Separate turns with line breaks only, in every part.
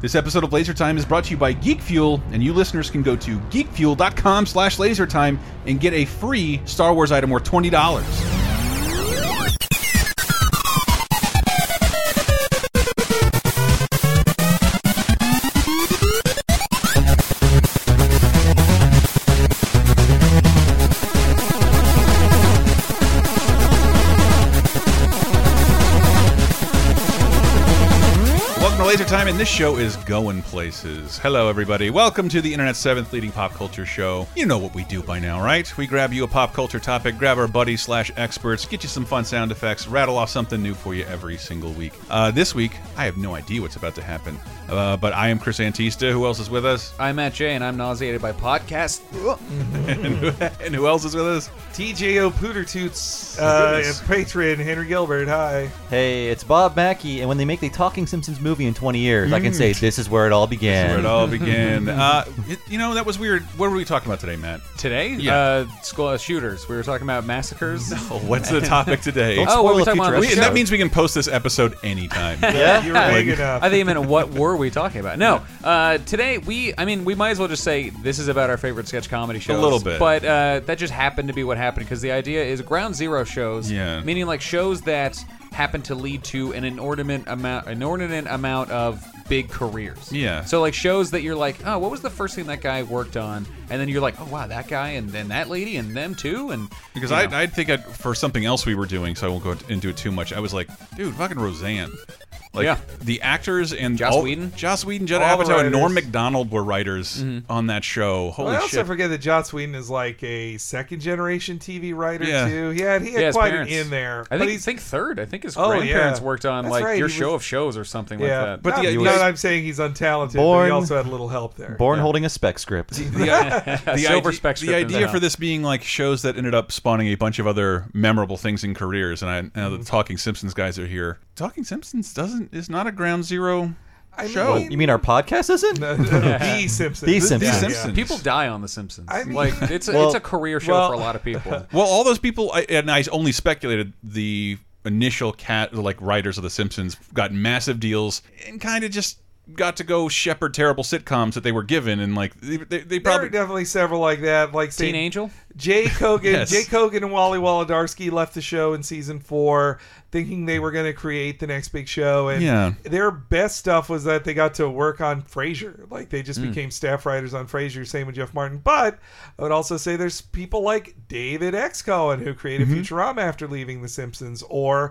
This episode of Laser Time is brought to you by Geek Fuel, and you listeners can go to geekfuel.com slash lasertime and get a free Star Wars item worth $20. Welcome to Laser Time, and this show is going places. Hello, everybody. Welcome to the internet's seventh leading pop culture show. You know what we do by now, right? We grab you a pop culture topic, grab our buddies slash experts, get you some fun sound effects, rattle off something new for you every single week. Uh, this week, I have no idea what's about to happen, uh, but I am Chris Antista. Who else is with us?
I'm Matt J, and I'm nauseated by podcasts.
and, who,
Mm-hmm.
and who else is with us?
TJO Pooter Toots.
Uh,
Goodness.
Patreon, Henry Gilbert, hi.
Hey, it's Bob Mackey, and when they make the Talking Simpsons movie in 20 years, I can say this is where it all began.
Where it all began. Uh, it- you know, that was weird. What were we talking about today, Matt?
Today,
Yeah.
uh, school uh, shooters. We were talking about massacres.
Oh, what's the topic today?
Don't
Oh, what
spoil
we
a
talking
future
about?
We- and that
episode.
means we can post this episode anytime.
Yeah?
You were big
Like-
enough.
I think you meant what were we talking about? No, uh, today we. I mean, we might as well just say this is about our favorite sketch comedy shows.
little bit.
but uh, that just happened to be what happened because the idea is ground zero shows.
Yeah.
meaning like shows that happen to lead to an inordinate amount, inordinate amount of big careers.
Yeah.
So like shows that you're like, oh, what was the first thing that guy worked on? And then you're like, oh wow, that guy, and then that lady, and them too, and
Because
you
I,
know.
I think I'd, for something else we were doing, so I won't go into it too much. I was like, dude, fucking Roseanne. Like
Yeah.
the actors and
Joss
all-
Whedon? Mm-hmm.
Joss Whedon, Judd
All the
Apatow, and Norm
writers.
Macdonald were writers on that show. Holy
Well, I also
shit!
forget that Joss Whedon is like a second generation TV writer
Yeah.
too. He had he had
Yeah, his
quite
parents.
an in there.
I
but
think,
he's,
think third. I think his
Oh, yeah.
grandparents worked on
That's
like
right,
your
he
show
was-
of shows or something
yeah.
like
But
that.
But
not,
the-
not
the-
that I'm saying he's untalented, but
Born-
he also had a little help there.
Born holding a spec script.
the silver
idea,
spec
the
script in
idea
there.
for this being like shows that ended up spawning a bunch of other memorable things in careers, and I now
Mm-hmm.
the Talking Simpsons guys are here. Talking Simpsons doesn't is not a ground zero
I
show.
mean-
You mean our podcast isn't?
No, no, the Simpsons.
The Simpsons.
Yeah.
Simpsons.
people die on The Simpsons.
I mean-
like it's a,
Well-
it's a career show for a lot of people.
Well, all those people, I, and I only speculated the initial cat like writers of The Simpsons got massive deals and kind of just got to go shepherd terrible sitcoms that they were given, and like they, they,
There
they
are
probably
definitely several like that. Like say,
Teen Angel.
Jay Kogan,
Yes.
Jay Kogan and Wally Wolodarski left the show in season four, thinking they were going to create the next big show. And
Yeah.
their best stuff was that they got to work on Frasier. Like they
Mm.
just became staff writers on Frasier. Same with Jeff Martin. But I would also say there's people like David X. Cohen who created
Mm-hmm.
Futurama after leaving The Simpsons, or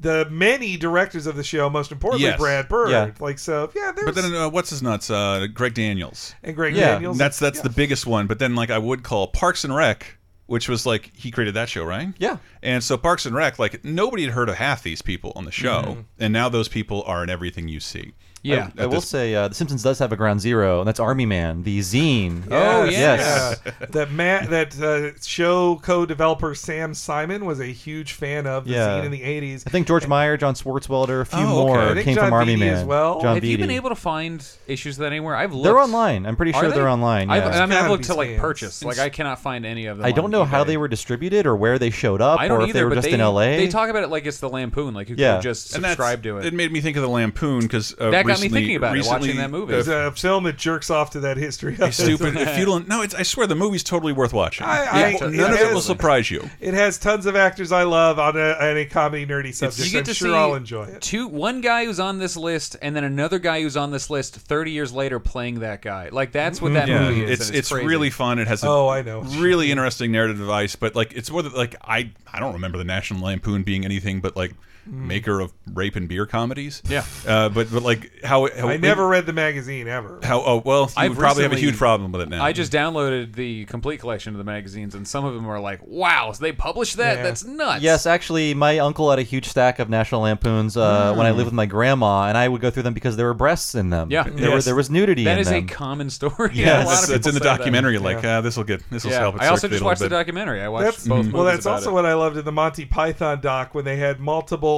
the many directors of the show. Most importantly,
Yes.
Brad Bird.
Yeah.
Like so, yeah. There's
But then uh, what's his nuts? Uh, Greg Daniels.
and Greg
Yeah.
Daniels.
That's that's
Yeah.
the biggest one. But then like I would call Parks and Rec, which was like he created that show, right?
Yeah.
And so Parks and Rec, like nobody had heard of half these people on the show, and now those people are in everything you
Mm-hmm.
see.
Yeah.
At
I will
this-
say, uh, The Simpsons does have a ground zero, and that's Army Man, the zine.
Oh,
yes.
yeah. that Matt, that uh, show co-developer Sam Simon was a huge fan of the
Yeah.
scene in the '80s.
I think George Meyer, John Swartzwelder, a few
Oh, okay.
more
I
think
came
John
from Army
Vitti
Man.
as well.
John
Have you been
Vitti.
able to find issues of that anywhere? I've looked.
They're online. I'm pretty
Are
sure
they?
they're online.
I've,
yeah.
I mean, I've
gotta
looked
be
to like
scans.
purchase. Like I cannot find any of them.
I
on
don't know how
eBay.
they were distributed or where they showed up
I
or
don't
if
either.
they were
but
just
they,
in LA.
They talk about it like it's the Lampoon. Like you
Yeah.
could just
And that's-
subscribe to it.
It made me think of the Lampoon because uh,
That got me
recently-
thinking about it, watching
recently,
that movie.
uh,
There's a film that jerks off to that history.
stupid, futile. No, it's, I swear the movie's totally worth watching.
I-
I-
none of it will
it-
surprise you.
It has tons of actors I love on a, on a comedy nerdy subject.
you get
I'm
to
sure
see
I'll enjoy it.
two one guy who's on this list and then another guy who's on this list 30 years later playing that guy like that's
Mm-hmm.
what that
Yeah,
movie is and
it's it's
crazy.
really fun. It has a
Oh, I know.
really interesting narrative device, but like it's more than like I I don't remember the National Lampoon being anything but like maker of rape and beer comedies.
Yeah.
uh, but but like how, how
I never read the magazine ever.
how oh well you
I've
would probably have a
recently-
huge problem with it now.
I just downloaded the complete collection of the magazines, and some of them are like, "Wow, so they published that?
Yeah.
That's nuts!"
Yes, actually, my uncle had a huge stack of National Lampoons uh, when I lived with my grandma, and I would go through them because there were breasts in them.
Mm. Yeah.
there,
Yes.
were, there was nudity
that
in
is
them.
a common story. a
yeah,
lot
it's,
of people
it's in the
say that.
documentary. Like ah, this will get this will
Yeah.
help. It
I also
circulate
just
a
watched the
little bit.
documentary. I watched
That's,
Mm-hmm.
both.
well,
movies
that's
about
also
it.
what I loved in the Monty Python doc when they had multiple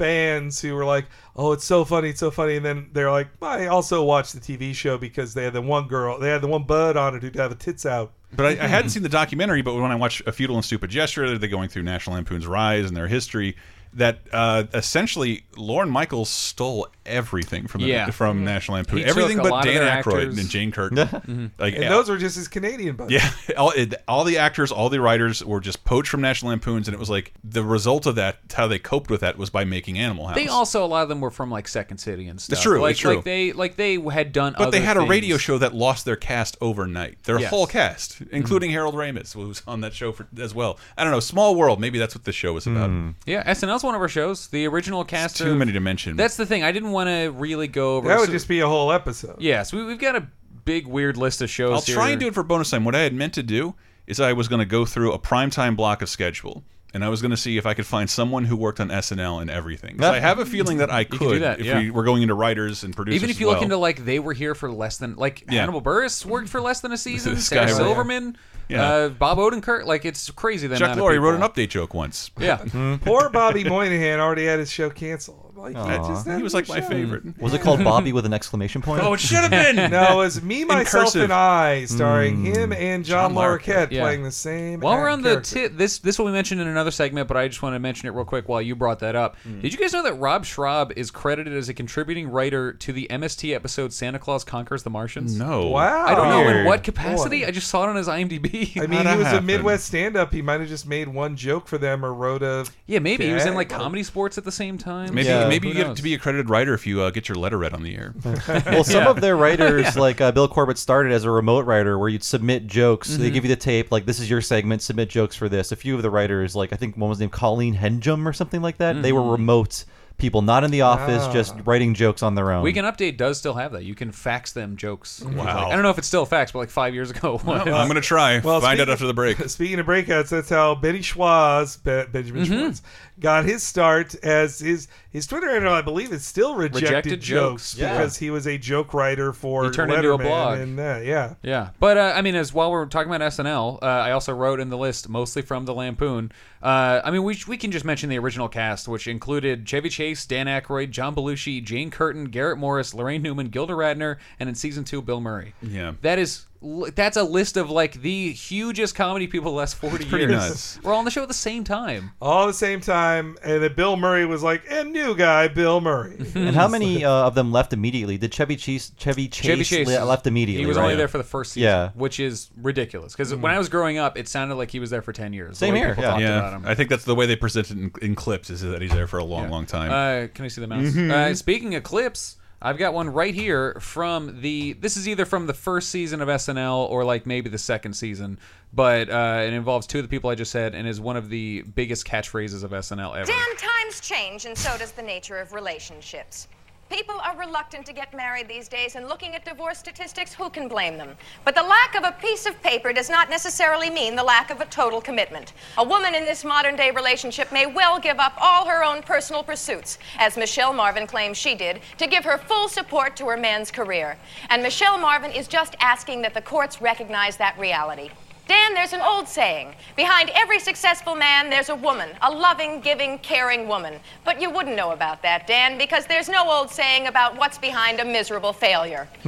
fans who were like, "Oh, it's so funny, it's so funny," and then they're like, "I also watched the TV show because they had the one girl, they had the one bud on it who'd have the tits out."
But I, I
Mm-hmm.
hadn't seen the documentary. But when I watched A Futile and Stupid Gesture, they're going through National Lampoon's rise and their history. that uh, essentially Lauren Michaels stole everything from the,
Yeah. Mm-hmm.
from National Lampoon.
He took
everything
a
but
lot of
Dan
their
Aykroyd
actors. Mm-hmm.
and Jane Curtin. like
And those were just his Canadian buddies.
yeah, all, it, all the actors, all the writers were just poached from National Lampoons, and it was like the result of that, how they coped with that, was by making Animal House.
They also a lot of them were from like Second City and stuff.
It's true,
Like,
it's true.
like they like they had done.
but they
other
had a radio
things.
show that lost their cast overnight. Their
Yes. Mm-hmm.
whole cast, including Harold Ramis, who was on that show for, as well. I don't know, Small World. Maybe that's what this show was about.
Yeah, SNL's one of our shows. The original cast.
Too
of-
many to mention.
That's the thing. I didn't want to really go over.
That would
so-
just be a whole episode.
Yes, we, we've got a big weird list of shows.
I'll try
here.
and do it for bonus time. What I had meant to do is I was going to go through a prime time block of schedule. And I was going to see if I could find someone who worked on SNL and everything. 'Cause I have a feeling that I could,
do that,
if
yeah.
we were going into writers and producers.
Even if
as
you
well.
look into like they were here for less than like
Yeah.
Hannibal Burris worked for less than a season.
This
Sarah
guy, right?
Silverman,
Yeah.
Uh, Bob Odenkirk. Like it's crazy. That
Chuck
amount of
Lorre wrote an
people.
update joke once.
Mm-hmm.
Yeah,
Poor Bobby Moynihan already had his show canceled. Like he
Aw.
just had
He was
no
like my
show.
favorite.
Was it called Bobby with an exclamation point?
Oh, it should have been.
No, it's me, myself,
cursive. Mm.
and I, starring
Hmm.
him and John,
John Larroquette.
Larroquette
Yeah.
playing the same.
While we're
act
on the
character.
ti this this will be mentioned in another segment, but I just want to mention it real quick while you brought that up.
Mm.
Did you guys know that Rob Schraub is credited as a contributing writer to the MST episode Santa Claus Conquers the Martians?
No.
Wow.
I don't know in
Weird.
what capacity.
Boy.
I just saw it on his IMDb.
I mean, he
How'd that
was
happen?
a Midwest stand-up. He might have just made one joke for them or wrote a.
yeah, maybe he was in like
Yeah.
comedy sports at the same time.
Maybe
Yeah.
maybe you
Who
get
knows?
to be a credited writer if you uh, get your letter read on the air.
Well, some of their writers, like uh, Bill Corbett, started as a remote writer where you'd submit jokes.
Mm-hmm.
They give you the tape, like this is your segment, submit jokes for this. A few of the writers, like I think one was named Colleen Henjum or something like that, they were
Mm-hmm.
remote people, not in the office, just writing jokes on their own.
Ah. We can update does still have that. You can fax them jokes. Like,
Wow.
I don't know if it's still fax, but like five years ago.
I'm gonna try.
Well,
Find out
speaking-
after the break.
Speaking of breakouts, that's how Benny Schwartz, Be- Benjamin
Mm-hmm.
Schwartz, got his start as his his Twitter handle. I believe is still rejected,
Rejected
jokes,
Jokes, yeah.
because he was a joke writer for
He turned into a
Letterman
blog.
And, uh, yeah,
Yeah, but uh, I mean, as while we're talking about SNL, uh, I also wrote in the list mostly from the Lampoon. Uh, I mean, we we can just mention the original cast, which included Chevy Chase, Dan Aykroyd, John Belushi, Jane Curtin, Garrett Morris, Lorraine Newman, Gilda Radner, and in season two, Bill Murray.
Yeah.
that is l- that's a list of like the hugest comedy people the last forty
pretty
years.
nuts.
We're all on the show at the same time.
all at the same time. And then Bill Murray was like, and new guy Bill Murray.
and how many uh, of them left immediately? Did Chevy Chase, Chevy Chase,
Chevy Chase
le-
is-
left immediately?
He was
right?
only there for the first season,
Yeah.
which is ridiculous. Because when I was growing up, it sounded like he was there for ten years. the
Same
way
here,
people
yeah.
talked about him.
Yeah, I think that's the way they present it in, in clips is that he's there for a long, long time. Mm-hmm.
Uh, can I see the mouse? Uh, speaking of clips, I've got one right here from the. This is either from the first season of SNL or like maybe the second season, but uh, it involves two of the people I just said and is one of the biggest catchphrases of SNL ever.
Damn times change, and so does the nature of relationships. People are reluctant to get married these days, and looking at divorce statistics, who can blame them? But the lack of a piece of paper does not necessarily mean the lack of a total commitment. A woman in this modern day relationship may well give up all her own personal pursuits, as Michelle Marvin claims she did, to give her full support to her man's career. And Michelle Marvin is just asking that the courts recognize that reality. Dan, there's an old saying behind every successful man, there's a woman, a loving, giving, caring woman. But you wouldn't know about that, Dan, because there's no old saying about what's behind a miserable failure.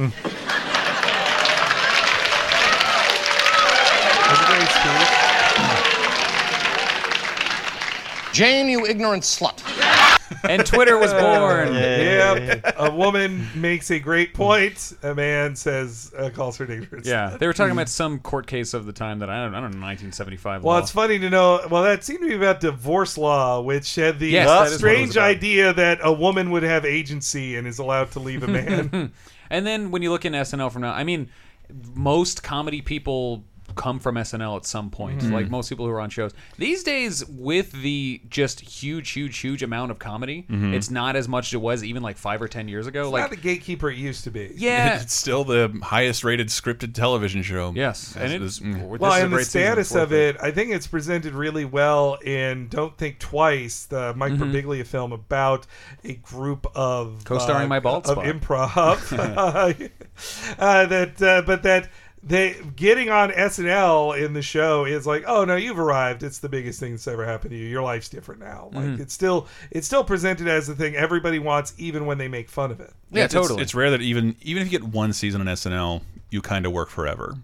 Uh,
That's a great speech.
Jane, you ignorant slut.
And Twitter was born.
Yep. A woman makes a great point. A man says, uh, calls her dangerous.
Yeah, they were talking about some court case of the time that I don't, I don't know, 1975
Well,
law.
it's funny to know. Well, that seemed to be about divorce law, which had the
Yes, that is what it was
strange
about.
idea that a woman would have agency and is allowed to leave a man.
And then when you look in SNL from now, I mean, most comedy people come from SNL at some point.
Mm-hmm.
Like most people who are on shows these days, with the just huge, huge, huge amount of comedy, it's not as much as it was even like five or ten years ago.
Mm-hmm. Not
like,
the gatekeeper it used to be.
yeah,
It's still the highest rated scripted television show.
yes,
As
and it is.
is- mm.
this
Well,
is a
and the
great season,
status
fourth
of it, I think it's presented really well in "Don't Think Twice," the Mike
Mm-hmm.
Birbiglia film about a group of uh,
Co-starring my bald
of
spot.
improv. uh, that, uh, but that they getting on SNL in the show is like, oh no, you've arrived. It's the biggest thing that's ever happened to you. Your
Mm.
life's different now. Like it's still it's still presented as the thing everybody wants, even when they make fun of it.
Yeah,
it's,
totally.
It's rare that even even if you get one season on SNL, you kind of work forever.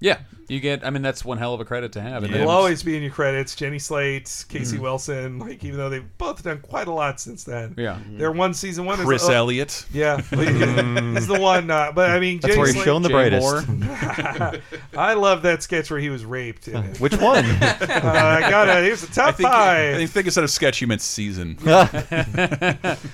yeah, you get. I mean, that's one hell of a credit to have. Mm-hmm. And
Yeah.
then-
Mm-hmm. It'll always be in your credits. Jenny Slate, Casey Wilson, like even though they've both done quite a lot since then.
Yeah.
Mm-hmm.
Their one season one
Chris
is oh,
Elliott.
Yeah. is the one uh, but I mean
That's
Jenny
where he's
Slate-
shown the
Jay
brightest.
Moore.
I love that sketch where he was raped in it.
Which one?
Uh, I got it. Here's the top
I think,
five.
I think instead of sketch, you meant season.
Uh,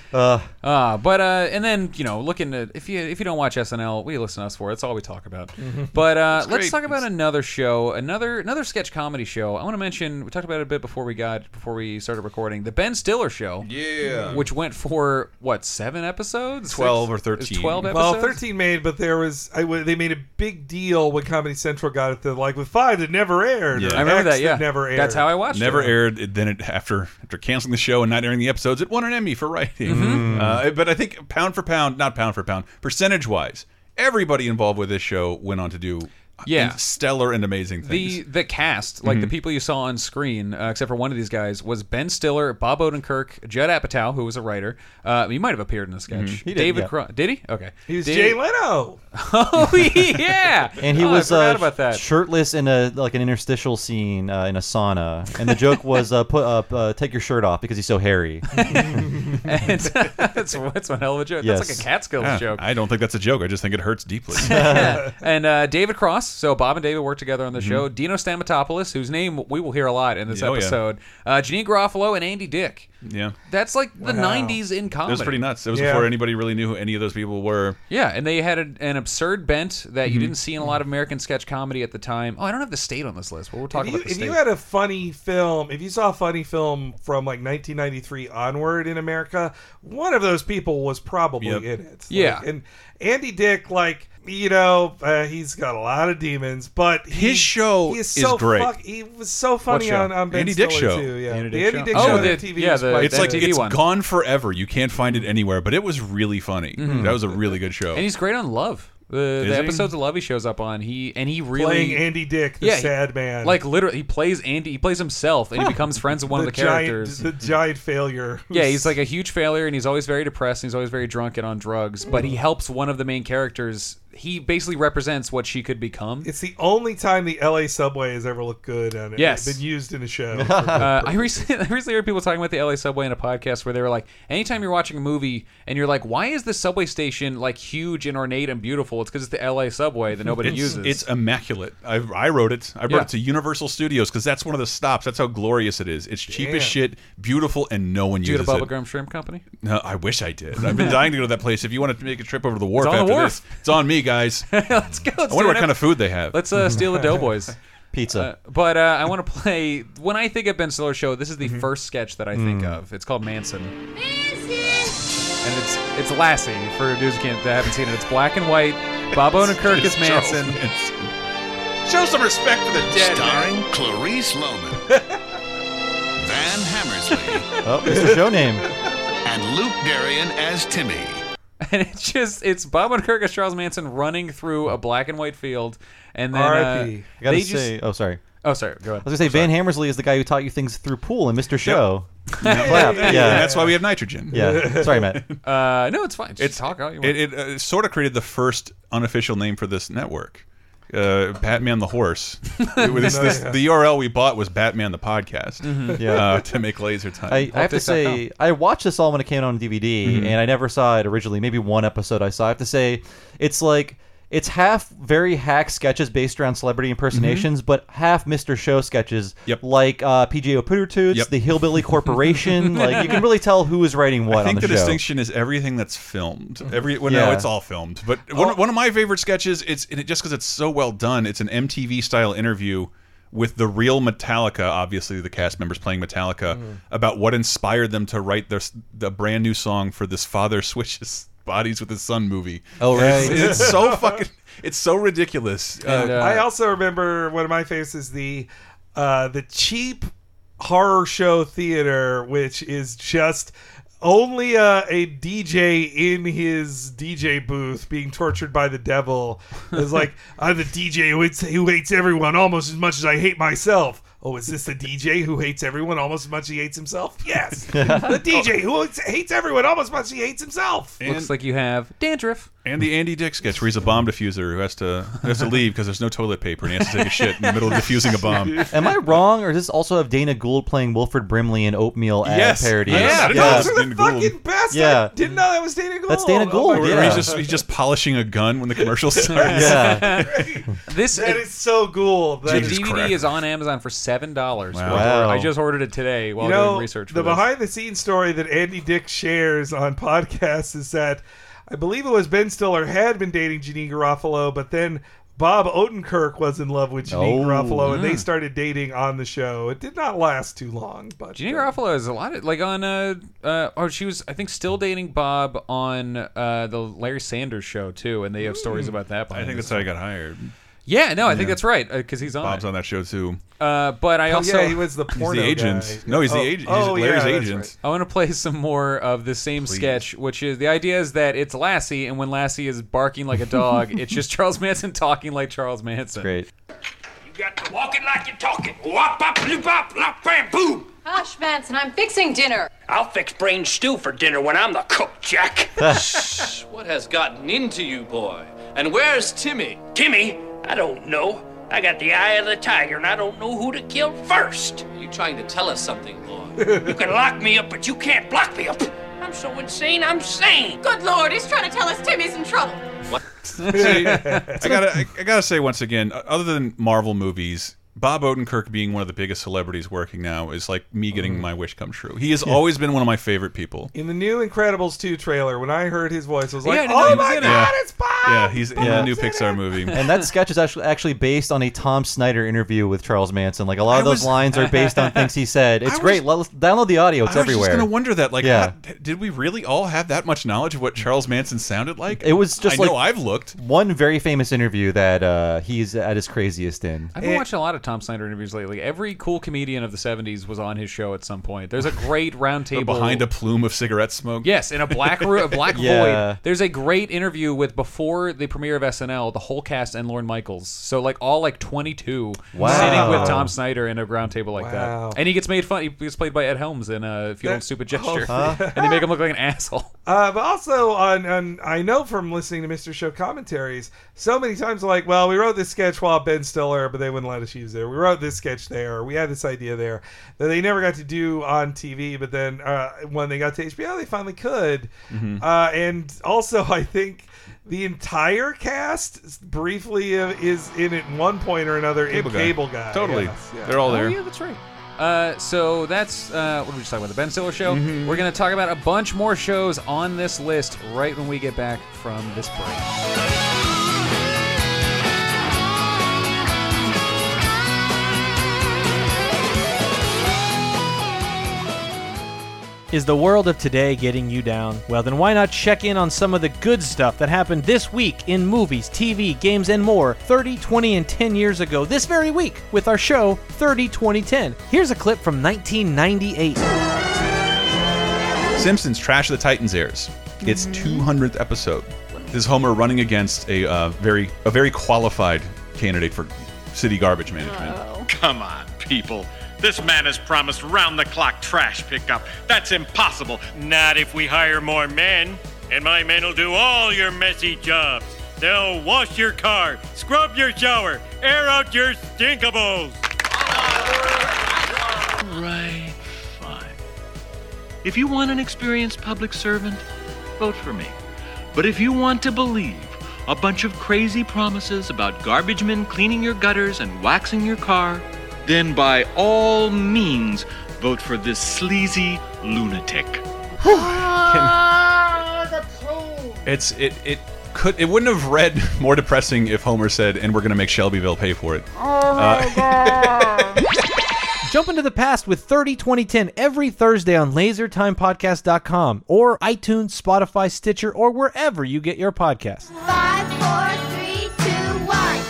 but uh, and then you know, looking at if you if you don't watch SNL, what do you listen to us for? That's all we talk about. But uh, let's
great.
talk about another show, another another sketch comedy show. I want to mention we talked about it a bit before we got before we started recording the Ben Stiller show.
Yeah.
which went for what seven episodes? Six?
12 or
It's
13.
Twelve
Well,
episodes.
Well, thirteen made, but there was I w they made a big deal when Comedy Central got it. That like with five that never aired.
Yeah.
or
I remember
X
that. Yeah,
never aired.
That's how I watched
Never
it.
aired. It- Then it after after canceling the show and not airing the episodes, it won an Emmy for writing.
Mm-hmm.
Uh, but I think pound for pound, not pound for pound, percentage wise, everybody involved with this show went on to do
Yeah.
stellar and amazing things. Mhm.
The the cast, like the people you saw on screen, uh, except for one of these guys, was Ben Stiller, Bob Odenkirk, Judd Apatow, who was a writer. Uh, he might have appeared in a
Mhm.
sketch.
did,
David
yeah.
Cro- did he? Okay,
He was
Did-
Jay Leno.
Oh yeah,
And he
Oh,
was
I forgot
uh,
about that.
shirtless in a like an interstitial scene uh, in a sauna, and the joke was uh, put up, uh, take your shirt off because he's so hairy.
And that's that's one hell of a joke. That's like
Yes.
a Catskills
Yeah,
joke.
Ah, I don't think that's a joke. I just think it hurts deeply.
and uh, David Cross. So Bob and David worked together on the show. Dino Stamatopoulos, whose name we will hear a lot in this
Mhm. Oh, yeah.
episode. Uh, Janine Garofalo and Andy Dick.
yeah.
That's like the '90s in comedy.
It was pretty nuts. It was
Yeah.
before anybody really knew who any of those people were.
Yeah, and they had an- an absurd bent that
Mm-hmm.
you didn't see in a lot of American sketch comedy at the time. Oh, I don't have the state on this list, but we're
If
talking
you,
about the
if
state.
you had a funny film, if you saw a funny film from like 1993 onward in America, one of those people was probably
Yep.
in it. Like,
Yeah.
and Andy Dick, like you know, uh, he's got a lot of demons, but he-
His show
he is,
is
so
great.
Fuck, he was so funny
show?
on, on Ben
Andy Dick
Stiller,
Show.
too. Yeah, the
Andy Dick
Andy
Show.
Dick
Oh,
show. on
the-
TV
yeah,
was
the-
quite
It's like
good.
MTV
it's
one.
gone forever. You can't find it anywhere, but it was really funny. That was a really good show.
Mm-hmm. and he's great on Love. The,
Is
the
he?
episodes of Love he shows up on, he and he really
playing Andy Dick, the
Yeah, he-
sad man,
like literally he plays Andy, he plays himself, and he becomes friends with one
the
of the
giant,
characters.
the giant failure.
Yeah, he's like a huge failure, and he's always very depressed, and he's always very drunk and on drugs. But he helps one of the main characters. He basically represents what she could become.
It's the only time the LA subway has ever looked good and
Yes.
it's been used in a show.
Uh, I recently, I recently heard people talking about the LA subway in a podcast where they were like, anytime you're watching a movie and you're like, why is this subway station like huge and ornate and beautiful? It's because it's the LA subway that nobody
it's,
uses.
it's immaculate. I, I wrote it. I brought
Yeah.
it to Universal Studios because that's one of the stops. That's how glorious it is. It's cheap
Damn.
as shit, beautiful, and no one
due to
uses it.
Bubblegum Shrimp Company.
No, I wish I did. I've been dying to go to that place. If you want to make a trip over to the wharf
on the
after
wharf.
this, it's on me, guys. I
Let's go. Let's do
wonder what
an
kind
ep-
of food they have.
Let's uh, steal the Doughboys.
Pizza.
But uh, I want to play. When I think of Ben Stiller's show, this is the first sketch that I think
Mm.
of. It's called Manson. and it's it's Lassie for dudes who can't that haven't seen it. It's black and white. Bob Odenkirk is
Charles
Manson.
Manson. Show some respect for the dead.
Starring
man.
Clarice Loman, Van Hammersley,
oh, it's the show name.
and Luke Darien as Timmy.
And it's just it's Bob Odenkirk as Charles Manson running through a black and white field, and then uh,
R.I.P..
I gotta
they just
say. Oh, sorry.
oh sorry go
I
ahead.
was gonna say Van Hammersley is the guy who taught you things through pool and Mr. Show. Clap. Yeah.
And
Yeah.
that's why we have nitrogen.
Sorry, Matt.
Uh, no, it's fine. Just
It's-
talk all you want.
It, it uh, sort of created the first unofficial name for this network. Uh, Batman the Horse. It was this- this- The URL we bought was Batman the Podcast
Mm-hmm. Yeah.
uh, to make laser time.
I, I have to say, I watched this all when it came out on DVD,
Mm-hmm.
and I never saw it originally. Maybe one episode I saw. I have to say, it's like it's half very hack sketches based around celebrity impersonations, but half Mr. Show sketches,
Mm-hmm. Yep.
like uh, PJ O'Pootertoots,
Yep.
the Hillbilly Corporation. like you can really tell who is writing what
I think
on
the,
the, show. Mm-hmm.
distinction is everything that's filmed. Every well, no,
Yeah. Oh.
it's all filmed. But one, one of my favorite sketches, it's and it, just because it's so well done. It's an MTV style interview with the real Metallica, obviously the cast members playing Metallica,
Mm.
about what inspired them to write their s- the brand new song for this father switches bodies with his son movie.
Oh,
And it's-
right.
it's, so fucking. It's so ridiculous.
And, uh,
Uh,
I also remember one of my favorites is the uh, the cheap horror show theater, which is just only uh, a DJ in his DJ booth being tortured by the devil. It's like I'm the DJ who hates, who hates everyone almost as much as I hate myself. Oh, is this the DJ who hates everyone almost as much as he hates himself? Yes. the DJ who hates- hates everyone almost as much as he hates himself.
And,
Looks like you have dandruff.
and the Andy Dick sketch where he's a bomb diffuser who has to who has to leave because there's no toilet paper and he has to take a shit in the middle of diffusing a bomb.
Am I wrong, or does this also have Dana Gould playing Wilfred Brimley in oatmeal ad
Yes.
parody?
Yes.
Yeah,
I didn't know
those
that was
are the
Dana Gould.
fucking best.
Yeah.
I didn't know that was Dana Gould.
That's Dana
Oh my
Gold,
Where
God.
he's
Yeah.
just he's just polishing a gun when the commercial starts.
yeah.
This
That is so cool. That
the
is
Jesus
DVD
Christ.
is on Amazon for seven dollars.
Wow.
Wow.
I just ordered it today while
you know,
doing research. For
the
this.
behind the scenes story that Andy Dick shares on podcasts is that I believe it was Ben Stiller had been dating Janine Garofalo, but then Bob Odenkirk was in love with Janine
Oh.
Garofalo, and they started dating on the show. It did not last too long, but
Jeannie
uh,
Garofalo is a lot of like on uh, uh or she was I think still dating Bob on uh the Larry Sanders show too, and they have stories about that.
I
behind
think
the
that's how I got hired.
Yeah, no, I think that's right because he's on.
Bob's
it.
on that show too.
Uh, but I
oh,
also
yeah, he was the
He's
porno
the agent.
guy.
No, he's the
Oh,
agent. He's
oh, yeah,
Larry's
that's
agent.
right.
I want to play some more of the same sketch, which is the idea is that it's Lassie, and when Lassie is barking like a dog, it's just Charles Manson talking like Charles Manson.
Great.
You got to walk it like you talk it. Wop, bop, bloop, bop, lop, bam, boom.
Hush, Manson, I'm fixing dinner.
I'll fix brain stew for dinner when I'm the cook, Jack.
What has gotten into you, boy? And where's Timmy?
Timmy, I don't know. I got the eye of the tiger, and I don't know who to kill first.
Are you trying to tell us something, boy?
You can lock me up, but you can't block me up. I'm so insane, I'm sane.
Good lord, he's trying to tell us Timmy's in trouble.
See, I gotta, I, I gotta say once again, uh, other than Marvel movies, Bob Odenkirk being one of the biggest celebrities working now is like me getting my wish come true. He has always been one of my favorite people.
In the new Incredibles 2 trailer, when I heard his voice, I was
Yeah, I
like,
didn't know
oh
he
my
was
God,
in it."
Yeah.
it's Bob!
Yeah, he's in the
Yeah.
new Pixar movie.
And that sketch is actually actually based on a Tom Snyder interview with Charles Manson. Like a lot of
I
those
was-
lines are based on things he said. It's
was-
great. Let- download the audio. It's
I was
everywhere.
just gonna wonder that, like,
Yeah.
how- did we really all have that much knowledge of what Charles Manson sounded like?
It was just
I know
like-
I've looked.
One very famous interview that uh, he's at his craziest in.
I've been watching a lot of Tom Snyder interviews lately. Every cool comedian of the '70s was on his show at some point. There's a great roundtable
Behind a plume of cigarette smoke.
Yes, in a black room, a black
Yeah.
void. There's a great interview with before the premiere of SNL, the whole cast and Lorne Michaels. So like all like 22
Wow.
sitting with Tom Snyder in a round table like
Wow.
that, and he gets made fun. He gets played by Ed Helms in uh, "If You Don't Stupid Gesture," and they make him look like an asshole.
Uh, but also on, on, I know from listening to Mr. Show commentaries, so many times like, well, we wrote this sketch while Ben Stiller, but they wouldn't let us use it. We wrote this sketch there. We had this idea there that they never got to do on TV. But then uh, when they got to HBO, they finally could.
Mm-hmm. Hmm.
Uh, and also, I think the entire cast briefly uh, is in at one point or another
Cable
in
guy.
Cable Guy.
Totally.
Yes, yeah.
They're all there.
Oh, that's right. Uh, so that's uh, what did we just talk about? The Ben Stiller show.
Mm-hmm.
We're gonna talk about a bunch more shows on this list right when we get back from this break.
Is the world of today getting you down? Well, then why not check in on some of the good stuff that happened this week in movies, TV, games, and more 30, 20, and 10 years ago this very week with our show 30, 20, 10. Here's a clip from 1998.
Simpsons Trash of the Titans airs. It's 200th episode. This is Homer running against a uh, very a very qualified candidate for city garbage management.
Uh. Come on, people. This man has promised round the clock trash pickup. That's impossible. Not if we hire more men. And my men will do all your messy jobs. They'll wash your car, scrub your shower, air out your stinkables.
right, fine. If you want an experienced public servant, vote for me. But if you want to believe a bunch of crazy promises about garbage men cleaning your gutters and waxing your car, then by all means, vote for this sleazy lunatic.
Ah,
It's it it could it wouldn't have read more depressing if Homer said, "And we're going to make Shelbyville pay for it."
Oh,
Uh,
Uh, Jump into the past with 30, 20, 10 every Thursday on lasertimepodcast.com or iTunes, Spotify, Stitcher, or wherever you get your podcasts.
Five, four, three, two, one.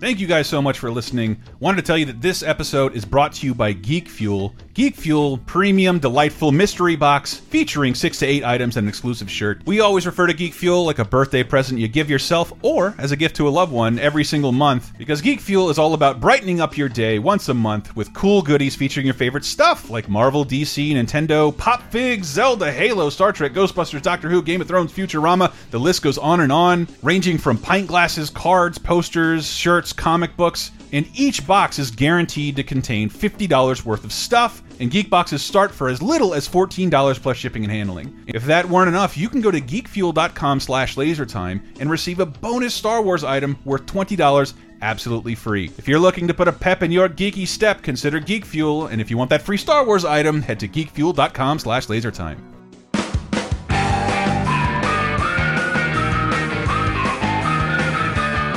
Thank you guys so much for listening. Wanted to tell you that this episode is brought to you by Geek Fuel. Geek Fuel premium delightful mystery box featuring 6 to 8 items and an exclusive shirt. We always refer to Geek Fuel like a birthday present you give yourself or as a gift to a loved one every single month because Geek Fuel is all about brightening up your day once a month with cool goodies featuring your favorite stuff like Marvel, DC, Nintendo, Pop Figs, Zelda, Halo, Star Trek, Ghostbusters, Doctor Who, Game of Thrones, Futurama. The list goes on and on, ranging from pint glasses, cards, posters, shirts, comic books, and each box is guaranteed to contain $50 worth of stuff, and geek boxes start for as little as $14 plus shipping and handling. If that weren't enough, you can go to geekfuel.com slash lasertime and receive a bonus Star Wars item worth $20 absolutely free. If you're looking to put a pep in your geeky step, consider Geek Fuel, and if you want that free Star Wars item, head to geekfuel.com slash lasertime.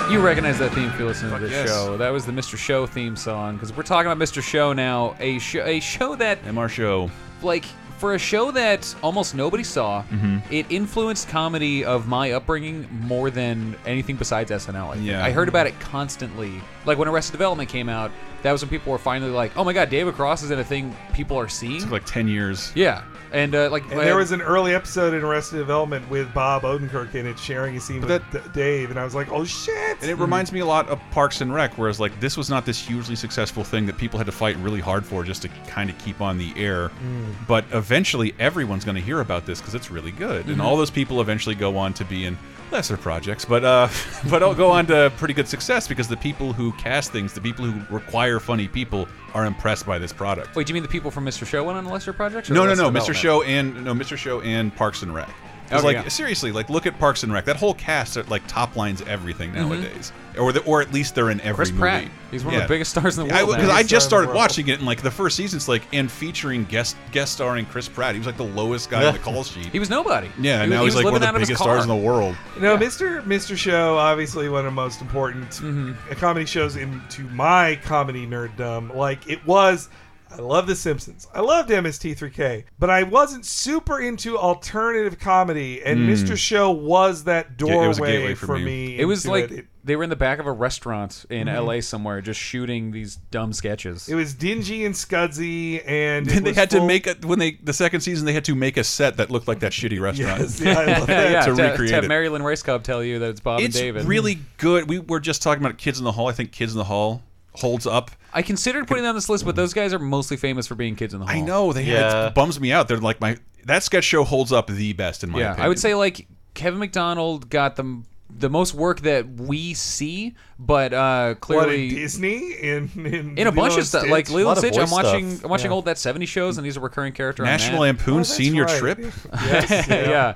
You recognize that theme if you listen to
Fuck
this
yes.
show. That was the Mr. Show theme song because we're talking about Mr. Show now, a show, a show that
MR Show,
like for a show that almost nobody saw,
Mhm.
it influenced comedy of my upbringing more than anything besides SNL. I, think.
Yeah.
I heard about it constantly. Like when Arrested Development came out, that was when people were finally like, "Oh my God, David Cross is in a thing people are seeing."
like 10 years.
Yeah, and uh, like
And there was an early episode in Arrested Development with Bob Odenkirk in it, sharing a scene with D- Dave, and I was like, "Oh shit!"
And it reminds me a lot of Parks and Rec, whereas like this was not this hugely successful thing that people had to fight really hard for just to kind of keep on the air.
Mm.
But eventually, everyone's going to hear about this because it's really good, and
Mhm.
all those people eventually go on to be in lesser projects, but uh, but all go on to pretty good success because the people who cast things, the people who require funny people, are impressed by this product.
Wait, do you mean the people from Mr. Show went on lesser projects? or
No, no,
Arrested
no, Mr.
Development?
Show and no, Mr. Show and Parks and Rec. 'Cause,
Okay,
like
yeah.
seriously, like look at Parks and Rec. That whole cast are, like top lines everything nowadays, or the, or at least they're in every
Mm-hmm. Chris
movie.
Pratt. He's one of the biggest stars in the
I-
world now.
Because I,
Biggest
just
star in the
started
world.
watching it, and like the first season's like and featuring guest guest starring Chris Pratt. He was like the lowest guy on the call sheet.
He was nobody.
Yeah, and
He-
now
he
he's
was
like one of
living
the
out of his
biggest stars in
car.
the world.
No, Mr. Mr. Show, obviously one of the most important
Mm-hmm.
uh, comedy shows into my comedy nerddom. Like it was, I love The Simpsons. I loved MST3K, but I wasn't super into alternative comedy, and
Hmm.
Mm.
Mr. Show was that doorway for, me.
It was
into
like
it.
they were in the back of a restaurant in
Mhm.
L.A. somewhere, just shooting these dumb sketches.
It was dingy and scudsy, and it
they
was
had
full-
to make a, when they the second season they had to make a set that looked like that shitty restaurant
Yes, yeah, I love that.
yeah,
to
to
recreate
to have
it.
Maryland Race Cub tell you that it's Bob
it's
and David. Mm-hmm.
really good. We were just talking about Kids in the Hall. I think Kids in the Hall holds up.
I considered putting them on this list, but those guys are mostly famous for being kids in the hall.
I know they had, it bums me out. They're like my that sketch show holds up the best in my
yeah,
opinion.
I would say like Kevin McDonald got the the most work that we see, but uh,
what,
clearly
in Disney in in,
in
Lilo
a bunch
and
of stuff.
Stitch?
Like Lilo and Stitch, I'm watching I'm watching old that 70 shows, and he's a recurring character. on
National
that.
Lampoon
Oh, that's
Senior
right.
Trip.
Yes, yeah.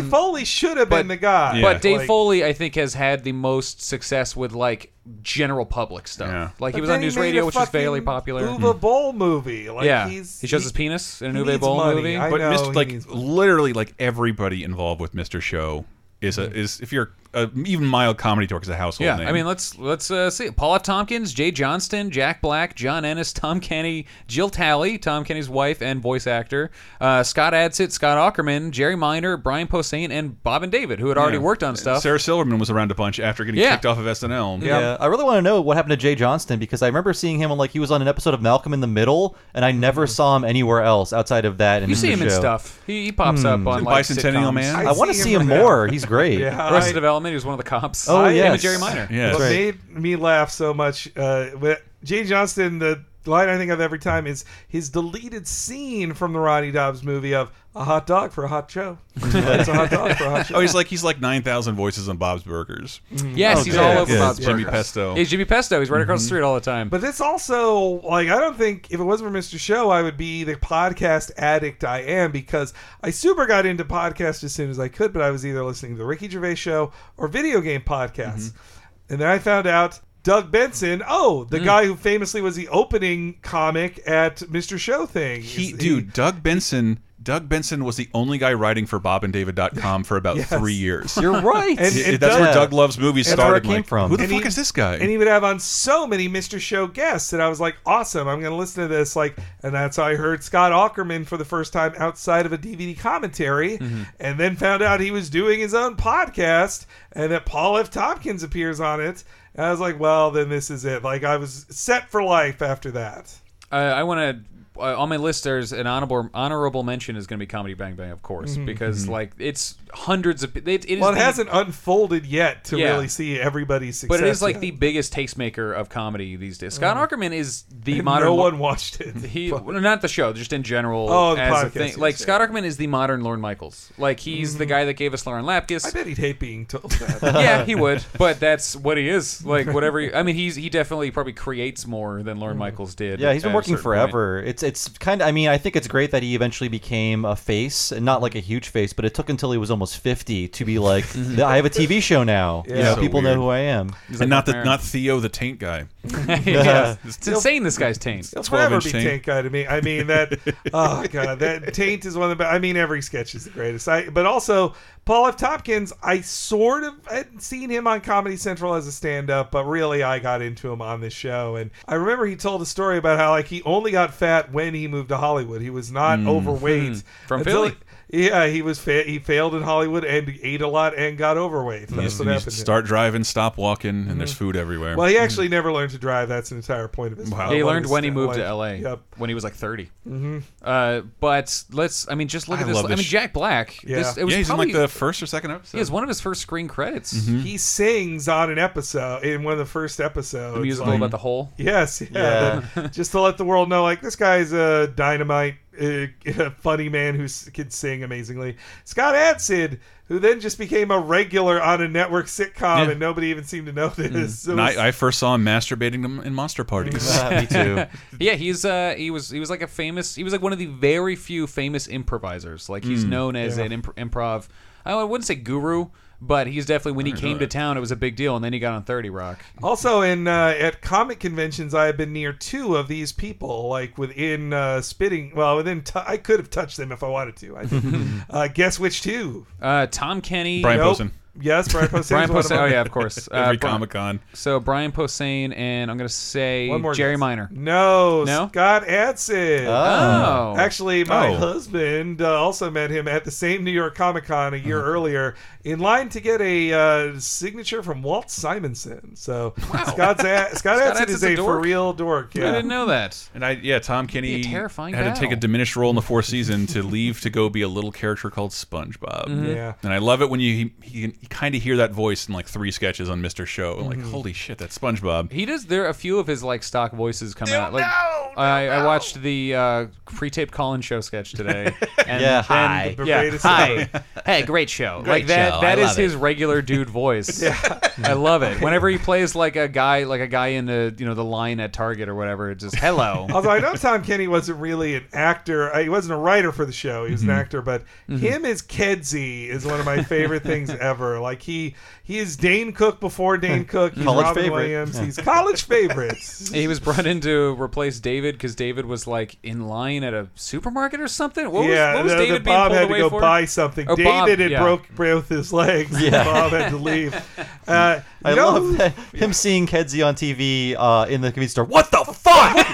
Dave Foley should have been the guy.
But Dave
Like-
Foley, I think, has had the most success with like general public stuff. Like
But
he was
then
on news
made a
radio, which is fairly
fucking
popular. Mm-hmm.
Uva Bowl movie. Like
yeah,
he's,
he shows
he-
his penis in
he
an Uwe
needs
Boll
money.
movie.
I
but
know,
Mr.
he
like
needs-
literally like everybody involved with Mr. Show is a is if you're a, even mild comedy dork is a household
Mm-hmm. yeah,
name.
I mean, let's let's uh, see: Paula Tompkins, Jay Johnston, Jack Black, John Ennis, Tom Kenny, Jill Talley, Tom Kenny's wife and voice actor, uh, Scott Adsit, Scott Ackerman, Jerry Minor, Brian Posehn, and Bob and David, who had already
Yeah.
worked on stuff.
Sarah Silverman was around a bunch after getting
Yeah.
kicked off of SNL.
Yeah. I really want to know what happened to Jay Johnston because I remember seeing him on like he was on an episode of Malcolm in the Middle, and I
Mm-hmm.
never saw him anywhere else outside of that. And
you
in
see
the
him in
show.
stuff. He, he pops up
Hmm.
on like sitcoms.
I, want to see him more. He's great.
Arrested Development. He was one of the cops.
Oh,
Him and
yes.
Jerry Minor.
Yes.
What
Right.
made me laugh so much uh, with Jay Johnston, the line I think of every time is his deleted scene from the Ronnie Dobbs movie of a hot dog for a hot show. it's a hot dog for a hot show.
oh, he's like he's like nine thousand voices on Bob's Burgers.
Mm-hmm.
Yes,
Oh,
Oh,
he's all over
Yeah,
Bob's
Jimmy
Burgers.
Pesto. Mm-hmm.
He's Jimmy Pesto. He's right across the street all the time.
But this also, like, I don't think if it wasn't for Mr. Show, I would be the podcast addict I am because I super got into podcasts as soon as I could, but I was either listening to the Ricky Gervais show or video game podcasts.
Mm-hmm.
And then I found out Doug Benson, oh,
Mm.
the guy who famously was the opening comic at Mr. Show thing.
He, dude, Doug Benson. Doug Benson was the only guy writing for BobandDavid.com for about
Yes.
three years.
You're right.
And,
And-
that's
and
where
Doug-
Doug Loves Movies
That's where
started.
it came
like,
from.
Who the
And
fuck
he-
is this guy?
And he would have on so many Mr. Show guests that I was like, awesome, I'm going to listen to this. Like, and that's how I heard Scott Ackerman for the first time outside of a DVD commentary,
Mm-hmm.
Mhm.
and then found out he was doing his own podcast and that Paul F. Tompkins appears on it. And I was like, well, then this is it. Like I was set for life after that.
Uh, I want to uh, on my list. There's an honorable honorable mention is going to be Comedy Bang Bang, of course,
Mhm.
because
Mm-hmm.
Mhm.
like it's hundreds of. It, it is
well, it
the-
hasn't unfolded yet to
Yeah.
really see everybody's success.
But it is like
yet.
the biggest tastemaker of comedy these days. Scott
Mm.
Ackerman is the
And
modern.
no
Lo-
one watched it.
He well, not the show, just in general.
Oh, the
as a
podcast,
thing.
yes, Mm-hmm.
like Scott Ackerman is the modern Lorne Michaels. Like he's the guy that gave us Lauren Lapkus. I
bet he'd hate being told that.
yeah, he would. But that's what he is. Like whatever. He, I mean, he's he definitely probably creates more than
Mm-hmm.
Lorne Michaels did.
Yeah, he's
at
been
a certain
working
point.
forever. It's it's kind of. I mean, I think it's great that he eventually became a face, and not like a huge face, but it took until he was almost fifty to be like, I have a TV show now. You know,
So
people
weird.
know who I am.
And not the, not Theo the Taint guy.
Yeah. It's insane this guy's taint.
He'll
12
forever
inch
be
taint.
taint. guy to me. I mean that. oh god, that taint is one of the. be- I mean every sketch is the greatest. I but also Paul F. Tompkins. I sort of had seen him on Comedy Central as a stand up, but really I got into him on this show. And I remember he told a story about how like he only got fat when he moved to Hollywood. He was not
Mm.
overweight
Hmm. From
until
Philly.
he- yeah, he was fa- he failed in Hollywood and ate a lot and got overweight.
You,
That's
just-
what
you
happened. to him.
start driving, stop walking, and there's food everywhere.
Well, he actually never learned to drive. That's an entire point of his.
Mm. Wow.
He
one of
learned
his
when he
sta-
moved to
life.
LA.
Yep.
When he was like 30.
Mhm.
Uh, but let's. I mean, just look
I
at this.
love
I
this
mean,
sh-
Jack Black.
Yeah.
This, it was
Yeah, he's in,
probably,
like, the first or second episode.
Yeah, it's one of his first screen credits.
Mm-hmm.
He sings on an episode in one of the first episodes.
The musical
like-
about the hole.
Yes, yeah. that- just to let the world know, like this guy's a dynamite, uh, funny man who s- can sing amazingly. Scott Adsid, who then just became a regular on a network sitcom,
Yeah. Mm.
and nobody even seemed to notice. It
And
was-
I, I first saw him masturbating in- in monster parties.
yeah, he's uh, he was he was like a famous. He was like one of the very few famous improvisers. Like he's
Mm.
known as
Yeah.
an imp- improv. I wouldn't say guru, but he's definitely when he
I know
came to town, it was a big deal, and then he got on Thirty Rock.
Also, in uh, at comic conventions, I have been near two of these people, like within uh, spitting. Well, within t- I could have touched them if I wanted to. I didn't. uh, guess which two?
Uh, Tom Kenny,
Brian
Nope.
Posehn.
Yes, Brian Posehn.
Brian
is one of
Posehn.
them.
Oh yeah, of course.
Every
Bri-
Comic-Con.
So Brian Posehn and I'm gonna say
One more
Jerry
guess.
Minor.
No,
No?
Scott Adson.
Oh.
Actually, my
Oh.
husband uh, also met him at the same New York Comic Con a year
Mm-hmm.
earlier in line to get a uh, signature from Walt Simonson. So Scott's a- Scott
Scott
Adson
Adson's
is
a
a, for
dork?
real dork. Yeah.
know that.
And I, yeah, Tom Kenny
Be a
had
terrifying
to take a
battle.
diminished role in the fourth season to leave to go be a little character called SpongeBob.
Mhm.
Yeah.
And I love it when you he, he, you kind of hear that voice in like three sketches on Mr. Show. Like,
Mhm.
holy shit, that's SpongeBob.
He does. There are a few of his like stock voices coming out. Like I, I watched the uh, pre-taped Colin show sketch today. And
Yeah,
then-
hi. The
yeah,
greatest
hi.
song.
Hey, great show.
Great
like that.
show,
That
I
is
love
his
it.
regular dude voice. I love it. Whenever he plays like a guy, like a guy in the you know the line at Target or whatever, it's just hello.
Although I know Tom Kenny wasn't really an actor, uh, he wasn't a writer for the show. He was an
Mhm.
actor, but him as Kedzie is one of my favorite things ever. Like he he is Dane Cook before Dane Cook. He's
College
Robin
favorite.
Williams.
Yeah.
He's college favorites.
He was brought in to replace David because David was like in line at a supermarket or something. What
yeah,
was, what was
the- the
David being
Bob
pulled
had to
away
go
for?
buy something.
Or
David
Bob,
had
yeah.
broke both his legs.
Yeah.
And Bob had to leave. Uh,
I
you know
love
who-
that, him seeing Kedzie on TV uh, in the convenience store. What the fuck?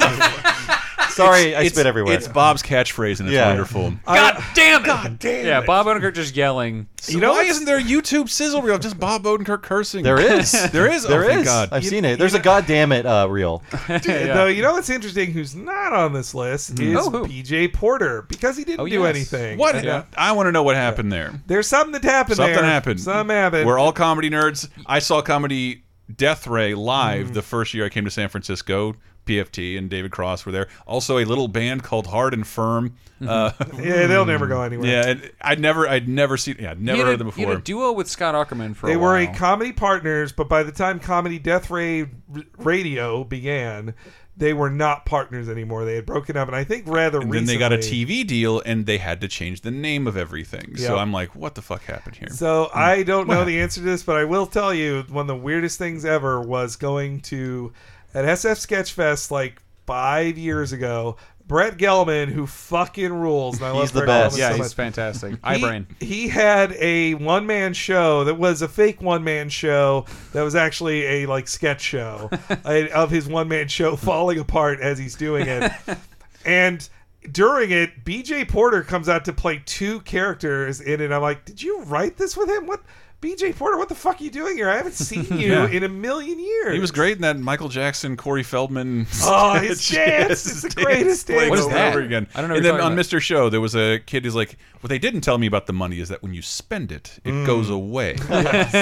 Sorry, I
It's-
spit everywhere.
It's Bob's catchphrase, and it's
Yeah.
wonderful.
God damn it! God
damn
Yeah,
it.
Bob Odenkirk just yelling.
You know, why isn't there a YouTube sizzle reel of just Bob Odenkirk cursing?
There is.
there is.
There
oh, Thank
is.
God.
I've seen it. There's a goddamn it uh, reel.
Though you know what's interesting, who's not on this list
Mm-hmm.
Mhm.
is
Oh, who?
PJ Porter because he didn't
Oh,
do
yes.
anything.
What?
And, uh,
I want to know what happened there.
There's something that happened.
Something
there.
happened.
Something happened.
We're all comedy nerds. I saw comedy Death Ray live
Mm.
the first year I came to San Francisco. PFT and David Cross were there. Also, a little band called Hard and Firm. Uh,
Mm-hmm. Yeah, they'll never go anywhere.
Yeah, and I'd never, I'd never seen, yeah, I'd never
He had
heard
a-
them
He had
before.
a duo with Scott Ackerman for
they
a
were
while.
a comedy partners, but by the time comedy Death Ray r- Radio began, they were not partners anymore. They had broken up, and I think rather
And then
recently.
they got a TV deal, and they had to change the name of everything. So
Yeah.
I'm like, what the fuck happened here?
Hmm.
So I don't
What
know the answer to this, but I will tell you one of the weirdest things ever was going to at SF Sketchfest like five years ago. Brett Gelman, who fucking rules, and I love
He's the
Brett
best.
Gelman
Yeah,
so
he's
much.
fantastic.
He-
Eyebrain.
He had a one man show that was a fake one man show that was actually a like sketch show uh, of his one man show falling apart as he's doing it. And during it, BJ Porter comes out to play two characters in it. I'm like, did you write this with him? What? BJ Porter, what the fuck are you doing here? I haven't seen you
Yeah.
in a million years.
He was great in that Michael Jackson, Corey Feldman.
Oh, his
sketch.
dance
Yes,
is the
his
greatest
dance,
dance
Like,
What is
over
that?
and over again.
I don't know what
And
you're
then on
talking
Mr. Show, there was a kid who's like, "What they didn't tell me about the money is that when you spend it, it
Mm.
goes away."
Yes,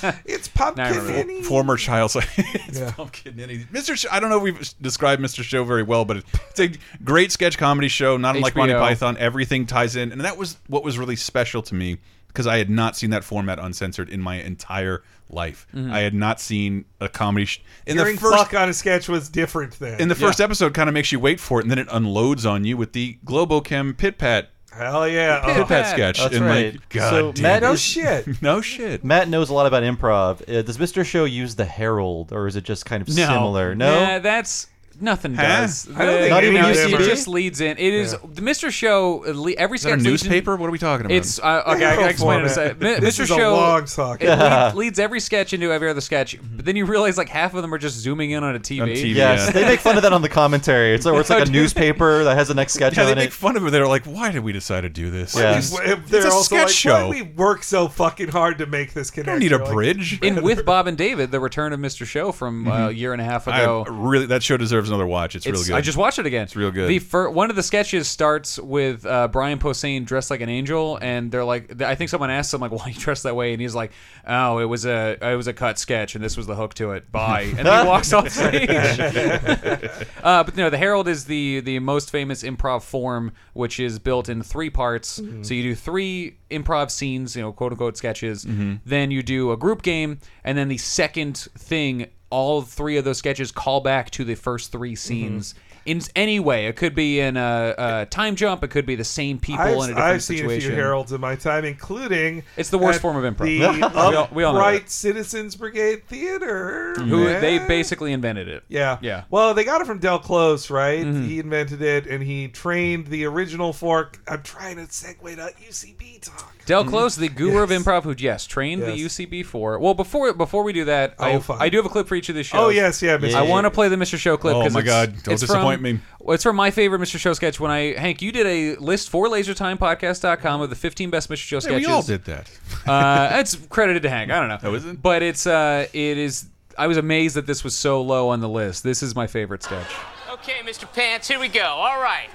yeah. It's pumpkin
Now I remember.
ninny.
Former child. it's
Yeah.
pumpkin ninny. Mr. Show, I don't know if we've described Mr. Show very well, but it's a great sketch comedy show, not unlike Monty
HBO.
Python. Everything ties in, and that was what was really special to me because I had not seen that format uncensored in my entire life.
Mhm.
I had not seen a comedy sh in
Hearing
the first
fuck on a sketch was different then.
in the first episode kind of makes you wait for it, and then it unloads on you with the Globochem Pit Pat.
Hell yeah.
Pit
Oh.
Pat sketch.
That's
and
right.
like, God
So
damn
Matt
it.
No
shit.
no shit.
Matt knows a lot about improv. Uh, does Mr. Show use the Herald, or is it just kind of
No.
similar? No.
Nah, that's nothing
Huh?
does.
I don't
The-
think Not even
no, it,
UCB?
just leads in. It is the Mr. Show. uh, le- Every
Is that a
sketch leads in-
newspaper? What are we talking about?
It's uh, okay. I can
Info
explain it. in a
format.
sec. Mi-
This
Mr.
is a
Show
long sock.
It lead-
Yeah.
leads every sketch into every other sketch, but then you realize like half of them are just zooming in on a TV.
yes, they make fun of that on the commentary. It's, like- it's like a newspaper that has the next sketch
Yeah,
on
they
it.
make fun of it. They're like, "Why did we decide to do this?
Yeah.
It's,
If
it's
They're
a
also
sketch
like,
show."
Why did we work so fucking hard to make this connection?
need a
Like,
bridge.
In with Bob and David, the return of Mr. Show from uh, a
Mhm.
year and a half
I
ago.
really, that show deserves another watch. It's, real
It's-
good.
I just watched it again.
It's real good.
The fir- one of the sketches starts with uh, Brian Posehn dressed like an angel, and they're like, th- I think someone asked him like, why you dressed that way, and he's like, oh, it was a it was a cut sketch, and this was the hook to it. Bye, and then he walks off stage. uh, but no, the Herald is the the most famous improv form, which is built in three parts.
Mhm.
So you do three improv scenes, you know, quote unquote sketches.
Mm-hmm.
Mhm.
Then you do a group game, and then the second thing, all three of those sketches call back to the first three
Mm-hmm.
scenes in any way. It could be in a, a time jump. It could be the same people
I've,
in a different
I've seen
situation.
a few heralds in my time, including
It's the worst
at
form of improv.
The
We all- we all know
Upright Citizens Brigade Theater.
Who
man.
they basically invented it.
Yeah.
yeah. Mm-hmm.
Well, they got it from Del Close, right? He invented it, and he trained the original fork. I'm trying to segue to UCB talk. Mm-hmm.
Del
Mm-hmm.
Close, the guru of improv, who yes trained the UCB for. Well, before before we do that, I,
Oh, fine.
I do have a clip for each of the shows.
Oh, yes, yeah, Mr.
I
Show.
want to play the Mr. Show clip.
Oh,
'cause
my
it's-
God. Don't
it's
disappoint
from,
me.
well, It's from my favorite Mr. Show sketch. When I Hank, you did a list for LaserTimePodcast.com of the 15 best Mr. Show
Yeah,
sketches.
we all did that.
uh, it's credited to Hank. I don't know. Oh, is it? But it's uh, it is. I was amazed that this was so low on the list. This is my favorite sketch.
Okay, Mr. Pants, here we go. All right.